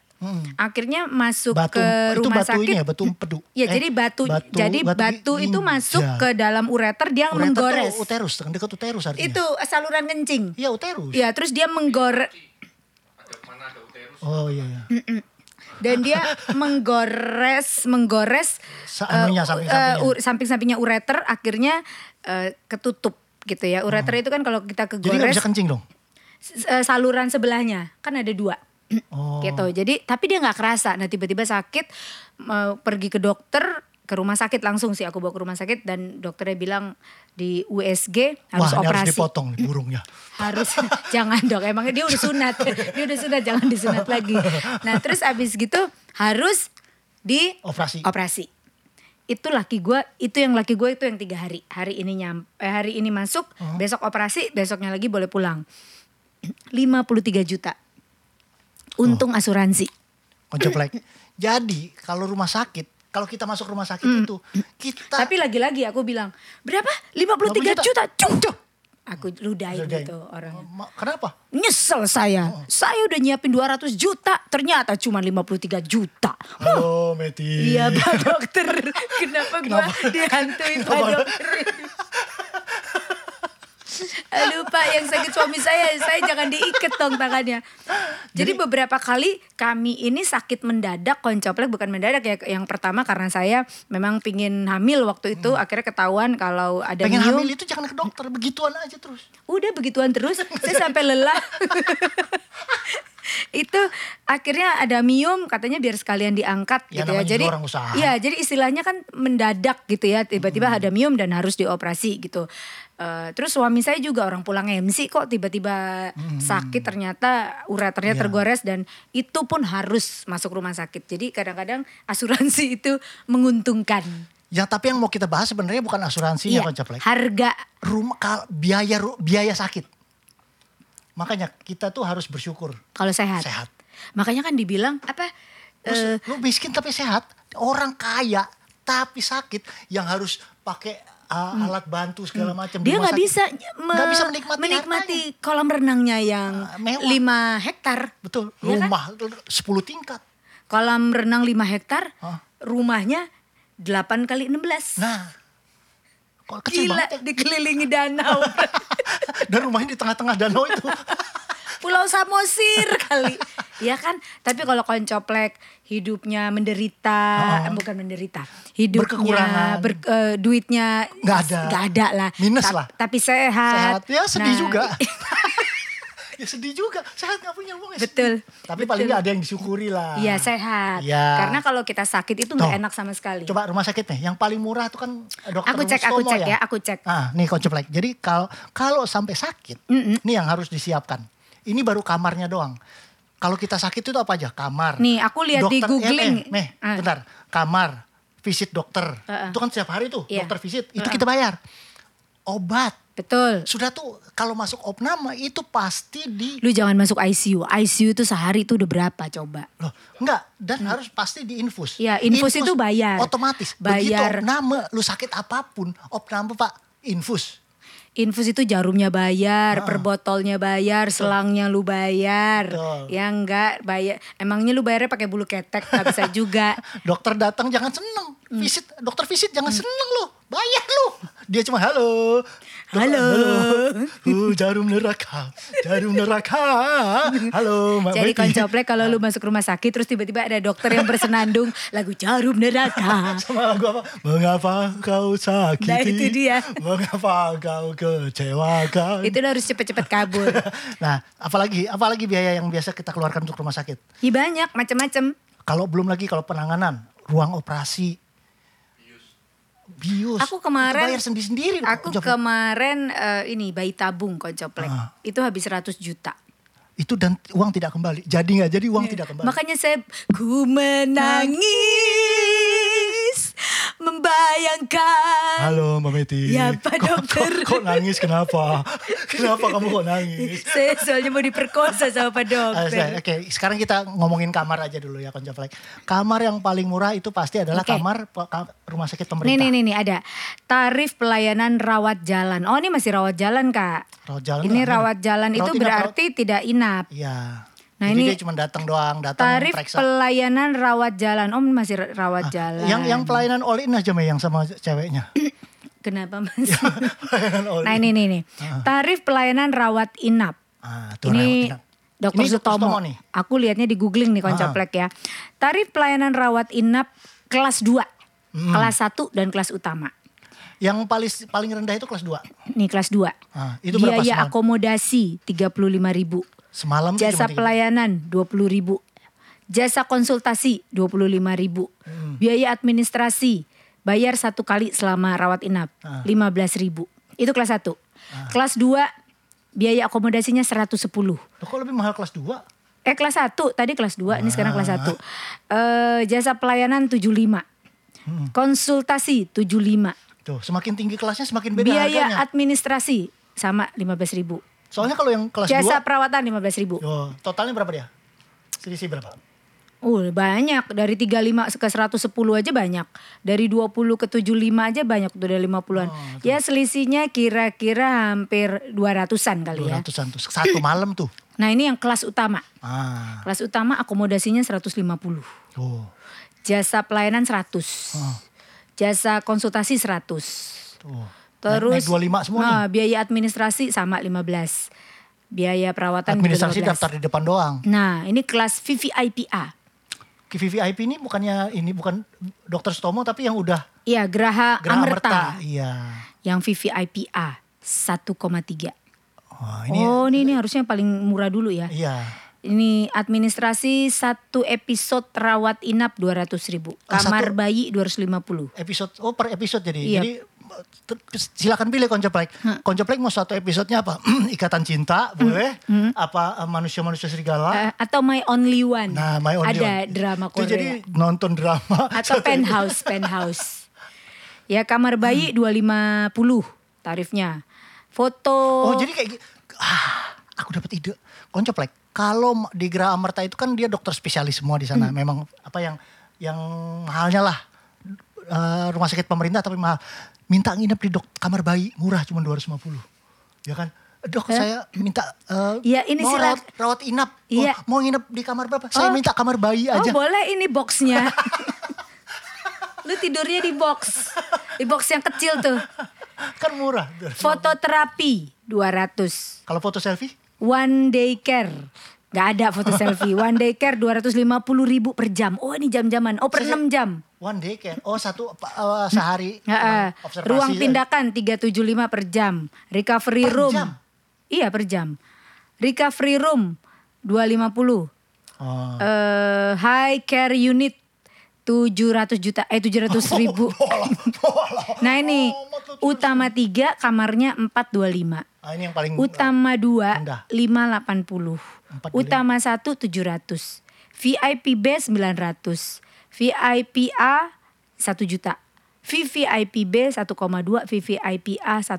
Speaker 2: Akhirnya masuk
Speaker 1: Hmm.
Speaker 2: ke
Speaker 1: Batu, itu
Speaker 2: rumah
Speaker 1: batu
Speaker 2: sakit.
Speaker 1: ini ya, batu empedu.
Speaker 2: Ya
Speaker 1: Eh,
Speaker 2: jadi batu, jadi batu,
Speaker 1: i-
Speaker 2: itu masuk
Speaker 1: iya.
Speaker 2: ke dalam ureter dia
Speaker 1: Ureter tuh
Speaker 2: menggores.
Speaker 1: uterus, dekat uterus artinya.
Speaker 2: Itu eh, saluran kencing.
Speaker 1: Iya uterus.
Speaker 2: Ya terus dia menggore
Speaker 1: Oh iya. iya.
Speaker 2: Mm, dan dia menggores menggores
Speaker 1: Sa-
Speaker 2: eh,
Speaker 1: anunya, samping-sampingnya.
Speaker 2: eh, ur- samping-sampingnya ureter akhirnya eh, ketutup gitu ya ureter itu kan kalau kita
Speaker 1: Hmm. Jadi nggak
Speaker 2: kegores
Speaker 1: bisa kencing dong.
Speaker 2: s- eh, saluran sebelahnya kan ada dua
Speaker 1: Oh.
Speaker 2: gitu jadi tapi dia nggak kerasa nah tiba-tiba sakit mau pergi ke dokter ke rumah sakit langsung sih aku bawa ke rumah sakit dan dokternya bilang di USG harus
Speaker 1: Wah, ini harus
Speaker 2: operasi
Speaker 1: dipotong nih burungnya.
Speaker 2: harus [laughs] jangan dong emangnya dia udah
Speaker 1: [laughs]
Speaker 2: sunat dia udah sunat jangan disunat lagi nah terus abis gitu harus di
Speaker 1: Operasi.
Speaker 2: operasi itu laki gue itu yang laki gue itu yang tiga hari hari ini nyam eh, hari ini masuk besok operasi besoknya lagi boleh pulang [clears throat] 53 juta untung
Speaker 1: Oh.
Speaker 2: asuransi
Speaker 1: Koncoplek. Jadi kalau rumah sakit, kalau kita masuk rumah sakit itu, kita
Speaker 2: Mm. tapi lagi-lagi aku bilang berapa 53
Speaker 1: 53
Speaker 2: juta Cung, cung. aku ludahin
Speaker 1: Ludahin.
Speaker 2: gitu orangnya
Speaker 1: Ma- Kenapa?
Speaker 2: Nyesel saya.
Speaker 1: Oh.
Speaker 2: Saya udah nyiapin 200 juta, ternyata cuma 53 juta.
Speaker 1: Halo Meti.
Speaker 2: Iya Pak Dokter, kenapa gua dihantui Pak
Speaker 1: Kenapa? [laughs]
Speaker 2: Dokter? Aduh Pak yang sakit suami saya, saya jangan diikat dong tangannya. Jadi, beberapa kali kami ini sakit mendadak, koncoplek bukan mendadak ya. Yang pertama karena saya memang pingin hamil waktu itu, akhirnya ketahuan kalau ada
Speaker 1: Hmm. Pengen
Speaker 2: nyium.
Speaker 1: hamil ya? itu jangan ke dokter, begituan aja terus.
Speaker 2: udah begituan terus saya sampai
Speaker 1: [laughs]
Speaker 2: lelah itu akhirnya ada mium katanya biar sekalian diangkat
Speaker 1: Ya,
Speaker 2: gitu ya
Speaker 1: namanya
Speaker 2: jadi
Speaker 1: juga orang usaha. Hmm.
Speaker 2: ya jadi istilahnya kan mendadak gitu ya tiba-tiba ada mium dan harus dioperasi gitu Eh, terus suami saya juga orang pulang MC kok tiba-tiba sakit ternyata ureternya
Speaker 1: Hmm. Iya.
Speaker 2: tergores dan itu pun harus masuk rumah sakit jadi kadang-kadang asuransi [laughs] itu menguntungkan
Speaker 1: Ya tapi yang mau kita bahas sebenarnya bukan
Speaker 2: Iya,
Speaker 1: asuransinya koncoplek.
Speaker 2: harga
Speaker 1: Rumah kal- biaya ru- biaya sakit. Makanya kita tuh harus bersyukur.
Speaker 2: kalau sehat.
Speaker 1: Sehat. Oh,
Speaker 2: makanya kan dibilang apa eh,
Speaker 1: Terus lu miskin tapi sehat, orang kaya tapi sakit yang harus pakai uh, alat bantu segala macam.
Speaker 2: Hmm. Dia
Speaker 1: rumah
Speaker 2: nggak
Speaker 1: sakit.
Speaker 2: bisa, me-
Speaker 1: Nggak bisa menikmati,
Speaker 2: menikmati
Speaker 1: hartanya.
Speaker 2: kolam renangnya yang
Speaker 1: Ah, mewah.
Speaker 2: 5 hektar.
Speaker 1: Betul,
Speaker 2: Iya kan?
Speaker 1: rumah 10 tingkat.
Speaker 2: Kolam renang 5 hektar,
Speaker 1: Hah?
Speaker 2: rumahnya 8 kali 16.
Speaker 1: Ah. Nah, kok kecil
Speaker 2: Gila,
Speaker 1: banget ya. [laughs]
Speaker 2: dikelilingi danau.
Speaker 1: Dan rumahnya di tengah-tengah danau itu.
Speaker 2: [laughs] Pulau Samosir kali. Ya kan? Tapi kalau koncoplek hidupnya menderita, eh, bukan menderita.
Speaker 1: Ah. Berkekurangan.
Speaker 2: Hidupnya ber- eh, duitnya
Speaker 1: Nggak ada.
Speaker 2: nggak ada lah.
Speaker 1: Minus
Speaker 2: Tap-
Speaker 1: lah.
Speaker 2: Tapi sehat.
Speaker 1: sehat, ya sedih
Speaker 2: Nah,
Speaker 1: juga. [laughs] ya sedih juga, sehat nggak punya uang ya sedih.
Speaker 2: Betul,
Speaker 1: Tapi
Speaker 2: betul.
Speaker 1: paling nggak ada yang disyukuri lah.
Speaker 2: Iya sehat.
Speaker 1: Iya.
Speaker 2: Karena kalau kita sakit itu
Speaker 1: Tuh.
Speaker 2: nggak enak sama sekali.
Speaker 1: Coba rumah sakit nih, yang paling murah tuh kan dokter
Speaker 2: Aku cek, aku
Speaker 1: Mustomo
Speaker 2: cek ya, aku cek.
Speaker 1: Ah, nih kocok like. Jadi kalau kalau sampai sakit, nih yang harus disiapkan. Ini baru kamarnya doang. Kalau kita sakit itu apa aja? Kamar.
Speaker 2: Nih, aku lihat di
Speaker 1: Dokter- eh,
Speaker 2: googling.
Speaker 1: Eh, meh,
Speaker 2: Ah.
Speaker 1: bentar. Kamar, visit dokter.
Speaker 2: Heeh.
Speaker 1: Itu kan setiap hari tuh
Speaker 2: Iya.
Speaker 1: dokter visit. Itu kita bayar. Obat.
Speaker 2: Betul.
Speaker 1: Sudah tuh kalau masuk opname itu pasti di
Speaker 2: Lu jangan masuk ICU. ICU itu sehari itu udah berapa coba?
Speaker 1: Loh, enggak dan harus pasti diinfus.
Speaker 2: Iya, infus itu bayar.
Speaker 1: Otomatis.
Speaker 2: Bayar.
Speaker 1: Begitu opname lu sakit apapun, opname Pak, infus.
Speaker 2: Infus itu jarumnya bayar, per botolnya bayar, selangnya lu bayar.
Speaker 1: Betul.
Speaker 2: Ya enggak bayar. Emangnya lu bayarnya pakai bulu ketek nggak bisa juga.
Speaker 1: Dokter datang jangan seneng.
Speaker 2: Hmm.
Speaker 1: Visit dokter visit jangan seneng lu. Bayar lu. Dia cuma halo. Dokter,
Speaker 2: Halo.
Speaker 1: Uh, jarum neraka. Jarum neraka. Halo, [laughs] Mbak
Speaker 2: Jadi
Speaker 1: Betty. Ah.
Speaker 2: koncoplek kalau lu masuk rumah sakit terus tiba-tiba ada dokter yang bersenandung [laughs] lagu jarum
Speaker 1: [laughs]
Speaker 2: neraka.
Speaker 1: [laughs] Sama lagu apa? Mengapa kau sakiti?
Speaker 2: Nah, itu dia.
Speaker 1: Mengapa kau kecewakan?
Speaker 2: itu lu harus cepet-cepet kabur.
Speaker 1: nah, apalagi apalagi biaya yang biasa kita keluarkan untuk rumah sakit.
Speaker 2: Ya banyak macam-macam.
Speaker 1: Kalau belum lagi kalau penanganan, ruang operasi, bius.
Speaker 2: Aku kemarin
Speaker 1: Itu bayar sendiri sendiri.
Speaker 2: Aku kemarin eh, ini bayi tabung koncoplek.
Speaker 1: Ah.
Speaker 2: Itu habis 100 juta.
Speaker 1: itu dan uang tidak kembali. Jadi nggak jadi uang tidak kembali.
Speaker 2: Iya. Makanya saya ku menangis membayangkan
Speaker 1: Halo Mbak Meti.
Speaker 2: Ya, Pak
Speaker 1: Kok-
Speaker 2: Dokter.
Speaker 1: Kok, kok nangis kenapa? [laughs] kenapa kamu kok nangis?
Speaker 2: saya soalnya mau diperkosa sama Pak
Speaker 1: Ah,
Speaker 2: [laughs]
Speaker 1: saya-
Speaker 2: Dokter.
Speaker 1: Oke, sekarang kita ngomongin kamar aja dulu ya Koncoplek. Kamar yang paling murah itu pasti adalah
Speaker 2: Oke.
Speaker 1: kamar pe- ka- rumah sakit
Speaker 2: Nih
Speaker 1: pemerintah.
Speaker 2: nih nih nih, ada tarif pelayanan rawat jalan. Oh ini masih rawat jalan kak.
Speaker 1: Rawat jalan
Speaker 2: ini
Speaker 1: tuh apa?
Speaker 2: rawat jalan itu
Speaker 1: Rawat inap,
Speaker 2: berarti tidak inap.
Speaker 1: Iya.
Speaker 2: Nah,
Speaker 1: Jadi
Speaker 2: ini
Speaker 1: dia cuma datang doang, datang
Speaker 2: Tarif
Speaker 1: periksa. Ah,
Speaker 2: pelayanan rawat jalan. Om masih ra- rawat jalan.
Speaker 1: Yang yang pelayanan all in aja Mei yang sama
Speaker 2: [laughs]
Speaker 1: ceweknya. Iya,
Speaker 2: Kenapa mas?
Speaker 1: pelayanan all in.
Speaker 2: nah ini nih nih. Tarif pelayanan rawat inap.
Speaker 1: Ah, tuh
Speaker 2: Ini
Speaker 1: rawat inap.
Speaker 2: Dokter
Speaker 1: Ini Dr.
Speaker 2: Sutomo.
Speaker 1: Sutomo nih. Ah.
Speaker 2: Aku lihatnya di googling nih koncoplek ya. Tarif pelayanan rawat inap kelas 2, kelas 1 dan kelas utama.
Speaker 1: Yang paling paling rendah itu kelas 2.
Speaker 2: Nih kelas 2.
Speaker 1: Ah, itu berapa
Speaker 2: Biaya
Speaker 1: semalam?
Speaker 2: akomodasi 35.000.
Speaker 1: Semalam tuh
Speaker 2: Jasa
Speaker 1: cuma tiga-
Speaker 2: pelayanan 20.000. Jasa konsultasi 25.000.
Speaker 1: Hmm.
Speaker 2: Biaya administrasi bayar satu kali selama rawat inap
Speaker 1: Ah.
Speaker 2: 15.000. Itu kelas 1. Kelas 2 biaya akomodasinya 110.
Speaker 1: Loh, kok lebih mahal kelas 2?
Speaker 2: Eh kelas 1, tadi kelas 2, ini sekarang kelas 1.
Speaker 1: Ah.
Speaker 2: Eh jasa pelayanan 75.
Speaker 1: Hmm.
Speaker 2: Konsultasi 75.
Speaker 1: Tuh, semakin tinggi kelasnya semakin beda
Speaker 2: Biaya
Speaker 1: harganya.
Speaker 2: administrasi sama 15.000.
Speaker 1: Soalnya kalau yang kelas 2,
Speaker 2: Jasa perawatan 15.000.
Speaker 1: Yo, totalnya berapa dia? Selisih berapa?
Speaker 2: Uh, banyak dari 35 ke 110 aja banyak. Dari 20 ke 75 aja banyak tuh dari 50-an.
Speaker 1: Oh, gitu.
Speaker 2: ya selisihnya kira-kira hampir 200-an kali ya.
Speaker 1: 200-an tuh, satu malam tuh.
Speaker 2: Nah, ini yang kelas utama.
Speaker 1: Ah,
Speaker 2: Kelas utama akomodasinya 150.
Speaker 1: tuh.
Speaker 2: Jasa pelayanan 100.
Speaker 1: Oh.
Speaker 2: Jasa konsultasi 100.
Speaker 1: tuh.
Speaker 2: Terus
Speaker 1: naik 25 semua
Speaker 2: nah, biaya administrasi sama 15. Biaya perawatan
Speaker 1: Administrasi
Speaker 2: juga 15.
Speaker 1: daftar di depan doang.
Speaker 2: Nah, ini kelas VVIPA.
Speaker 1: KVVIP ini bukannya ini bukan dokter Stomo tapi yang udah
Speaker 2: Iya, Geraha,
Speaker 1: Geraha
Speaker 2: Amerta.
Speaker 1: Merta. Iya.
Speaker 2: Yang VVIPA 1,3.
Speaker 1: Oh, ini
Speaker 2: oh, ini, ini harusnya yang paling murah dulu ya.
Speaker 1: iya.
Speaker 2: Ini administrasi satu episode rawat inap 200.000 ribu.
Speaker 1: Ah, satu-
Speaker 2: Kamar bayi 250.
Speaker 1: Episode oh per episode jadi.
Speaker 2: Iya.
Speaker 1: Jadi ter- silakan pilih koncoplek. Koncoplek mau satu episodenya apa? [clears throat] Ikatan cinta boleh? Apa eh, manusia-manusia serigala?
Speaker 2: Hmm. Eh, atau My Only One.
Speaker 1: Ah? Nah, My Only
Speaker 2: Ada
Speaker 1: One.
Speaker 2: drama
Speaker 1: Itu
Speaker 2: Korea.
Speaker 1: jadi [laughs] nonton drama [laughs]
Speaker 2: atau
Speaker 1: satu-
Speaker 2: penthouse penthouse ya kamar bayi
Speaker 1: Hmm.
Speaker 2: 250 tarifnya foto
Speaker 1: Oh, jadi kayak gi- ah, aku dapat ide. Koncoplek. Kalau ma- di Geraha Merta itu kan dia dokter spesialis semua di
Speaker 2: Hmm.
Speaker 1: sana. Memang apa yang yang mahalnya lah Eh, rumah sakit pemerintah tapi mahal. Minta nginep di dok kamar bayi murah cuma 250. Ya kan? Dok, saya minta eh,
Speaker 2: Iya, ini
Speaker 1: mau
Speaker 2: sila-
Speaker 1: rawat, rawat inap.
Speaker 2: Iya.
Speaker 1: Mau, mau nginep di kamar berapa? Saya
Speaker 2: Oh.
Speaker 1: minta kamar bayi
Speaker 2: oh
Speaker 1: aja.
Speaker 2: boleh ini boxnya [laughs] lu tidurnya di box di box yang kecil tuh
Speaker 1: [laughs] kan murah.
Speaker 2: fototerapi 200
Speaker 1: Kalau foto selfie?
Speaker 2: one day care nggak ada foto selfie one day care 250 ribu per jam oh ini jam-jaman oh per
Speaker 1: Saya-
Speaker 2: 6 jam
Speaker 1: One day care. Oh, satu eh, sehari.
Speaker 2: Heeh.
Speaker 1: cuman observasi
Speaker 2: Ruang
Speaker 1: aja.
Speaker 2: tindakan 375 per jam. Recovery
Speaker 1: Per
Speaker 2: room.
Speaker 1: jam?
Speaker 2: Iya per jam. Recovery room 250.
Speaker 1: Oh. [laughs]
Speaker 2: Eh, high care unit 700 juta eh 700 ribu.
Speaker 1: Bola, bola.
Speaker 2: Nah ini
Speaker 1: Oh, maksud-
Speaker 2: utama 3 kamarnya 425.
Speaker 1: Ah, ini yang paling
Speaker 2: Utama 2
Speaker 1: Rendah.
Speaker 2: 580.
Speaker 1: 425.
Speaker 2: Utama 1 700. VIP B 900. VIP A 1 juta. VVIP B 1,2, VVIP A 1,3.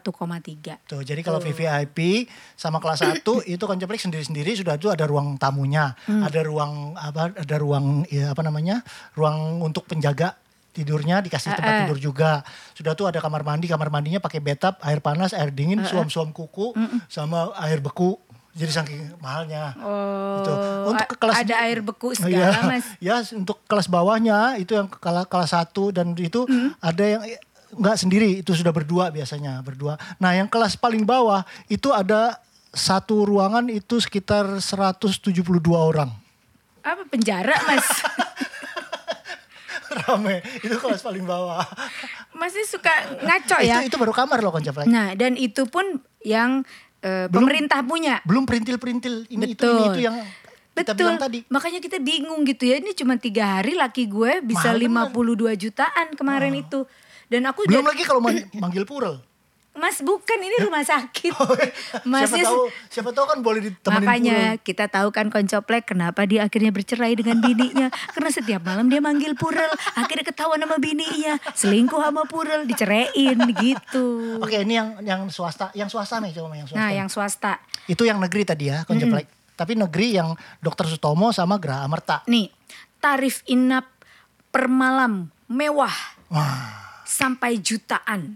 Speaker 1: Tuh, jadi kalau VVIP sama kelas 1
Speaker 2: [clears throat]
Speaker 1: itu konceplik sendiri-sendiri sudah itu ada ruang tamunya,
Speaker 2: Hmm.
Speaker 1: ada ruang apa ada ruang ya, apa namanya? ruang untuk penjaga tidurnya dikasih
Speaker 2: Eh,
Speaker 1: tempat
Speaker 2: eh.
Speaker 1: tidur juga. Sudah tuh ada kamar mandi, kamar mandinya pakai bathtub, air panas,
Speaker 2: Eh,
Speaker 1: air dingin, suam-suam kuku sama air beku. Jadi saking mahalnya.
Speaker 2: Oh,
Speaker 1: Gitu. Untuk ke
Speaker 2: a-
Speaker 1: kelas
Speaker 2: ada air beku
Speaker 1: Iya,
Speaker 2: segala mas.
Speaker 1: [laughs] Ya, untuk kelas bawahnya itu yang kala- kelas satu dan itu
Speaker 2: Hmm.
Speaker 1: ada yang eh, nggak sendiri itu sudah berdua biasanya berdua. Nah yang kelas paling bawah itu ada satu ruangan itu sekitar 172 orang. [laughs]
Speaker 2: Apa penjara mas?
Speaker 1: Rame, itu kelas paling bawah.
Speaker 2: Masih suka ngaco ya.
Speaker 1: Itu, itu baru kamar loh konjak
Speaker 2: Nah dan itu pun yang eh, pemerintah punya.
Speaker 1: Belum perintil-perintil ini itu
Speaker 2: Betul.
Speaker 1: ini itu yang kita
Speaker 2: Betul.
Speaker 1: bilang tadi.
Speaker 2: Makanya kita bingung gitu ya. Ini cuma tiga hari laki gue bisa
Speaker 1: Mahal bener.
Speaker 2: 52 jutaan kemarin itu. Dan aku
Speaker 1: Belum
Speaker 2: udah-
Speaker 1: lagi kalau
Speaker 2: [coughs]
Speaker 1: man- manggil purel.
Speaker 2: Mas bukan ini
Speaker 1: [laughs]
Speaker 2: rumah sakit.
Speaker 1: Oh, iya. siapa
Speaker 2: [laughs] Masnya
Speaker 1: tahu siapa tahu kan boleh ditemenin
Speaker 2: Makanya
Speaker 1: purel.
Speaker 2: kita tahu kan koncoplek kenapa dia akhirnya bercerai dengan
Speaker 1: [laughs]
Speaker 2: bininya. Karena setiap malam dia manggil Purel, akhirnya ketahuan sama bininya, selingkuh sama Purel, diceraiin gitu.
Speaker 1: Oke, ini yang yang swasta, yang swasta nih coba yang swasta.
Speaker 2: Nah, yang swasta.
Speaker 1: Itu yang negeri tadi ya, konjeplek. Tapi negeri yang Dokter Sutomo sama Graha Merta.
Speaker 2: Nih, tarif inap per malam mewah
Speaker 1: Wah,
Speaker 2: sampai jutaan.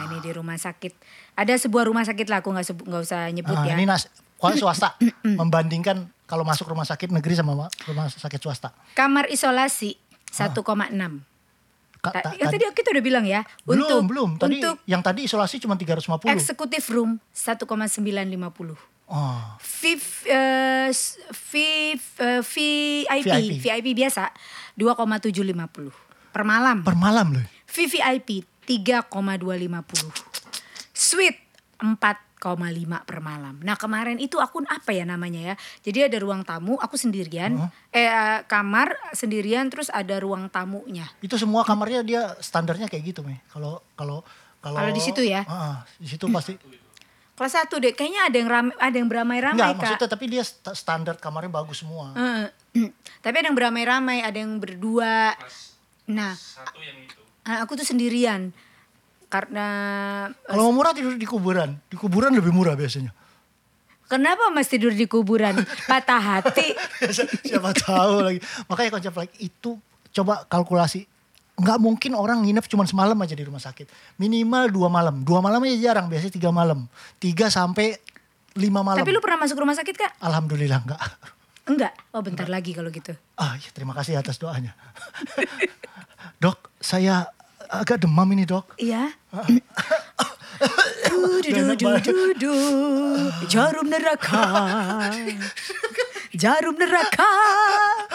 Speaker 2: Nah, ini di rumah sakit. Ada sebuah rumah sakit lah, aku nggak sebut- nggak usah nyebut
Speaker 1: ah,
Speaker 2: ya.
Speaker 1: ini nas, kalau swasta membandingkan kalau masuk rumah sakit negeri sama rumah sakit swasta.
Speaker 2: Kamar
Speaker 1: Ah.
Speaker 2: isolasi 1,6.
Speaker 1: Ka-
Speaker 2: Ta-
Speaker 1: ta-
Speaker 2: ya,
Speaker 1: tadi-
Speaker 2: tadi kita udah bilang ya
Speaker 1: belum,
Speaker 2: untuk
Speaker 1: belum. Tadi
Speaker 2: untuk
Speaker 1: yang tadi isolasi cuma 350.
Speaker 2: Eksekutif room 1,950.
Speaker 1: oh,
Speaker 2: Viv, eh, s- viv, eh, VIP,
Speaker 1: VIP.
Speaker 2: VIP, biasa 2,750 per malam.
Speaker 1: per malam loh.
Speaker 2: VVIP 3,250. Suite 4,5 per malam. Nah kemarin itu aku apa ya namanya ya. Jadi ada ruang tamu, aku sendirian. Eh eh, kamar sendirian, terus ada ruang tamunya.
Speaker 1: Itu semua kamarnya dia standarnya kayak gitu, Meh. Kalau kalau kalau
Speaker 2: Kalau di situ ya?
Speaker 1: Ah, di situ pasti
Speaker 2: Kelas satu deh, kayaknya ada yang rame, ada yang beramai-ramai
Speaker 1: enggak
Speaker 2: kak.
Speaker 1: maksudnya tapi dia sta- standar kamarnya bagus semua.
Speaker 2: Eh, [clears throat] tapi ada yang beramai-ramai, ada yang berdua. Nah,
Speaker 3: satu yang itu
Speaker 2: a- aku tuh sendirian karena eh,
Speaker 1: Kalau mau murah tidur di kuburan. Di kuburan lebih murah biasanya.
Speaker 2: kenapa Mas tidur di
Speaker 1: [laughs]
Speaker 2: kuburan? Patah hati.
Speaker 1: siapa tahu lagi. Makanya konsep like itu coba kalkulasi. Nggak mungkin orang nginep cuma semalam aja di rumah sakit. Minimal dua malam. Dua malam aja jarang. Biasanya tiga malam. Tiga sampai lima malam.
Speaker 2: Tapi lu pernah masuk rumah sakit kak?
Speaker 1: Alhamdulillah enggak.
Speaker 2: Enggak. Oh bentar lagi kalau gitu.
Speaker 1: Ah ya terima kasih atas doanya. [laughs] dok, saya agak demam ini dok.
Speaker 2: [laughs] Iya. du du du du du [laughs] jarum neraka jarum neraka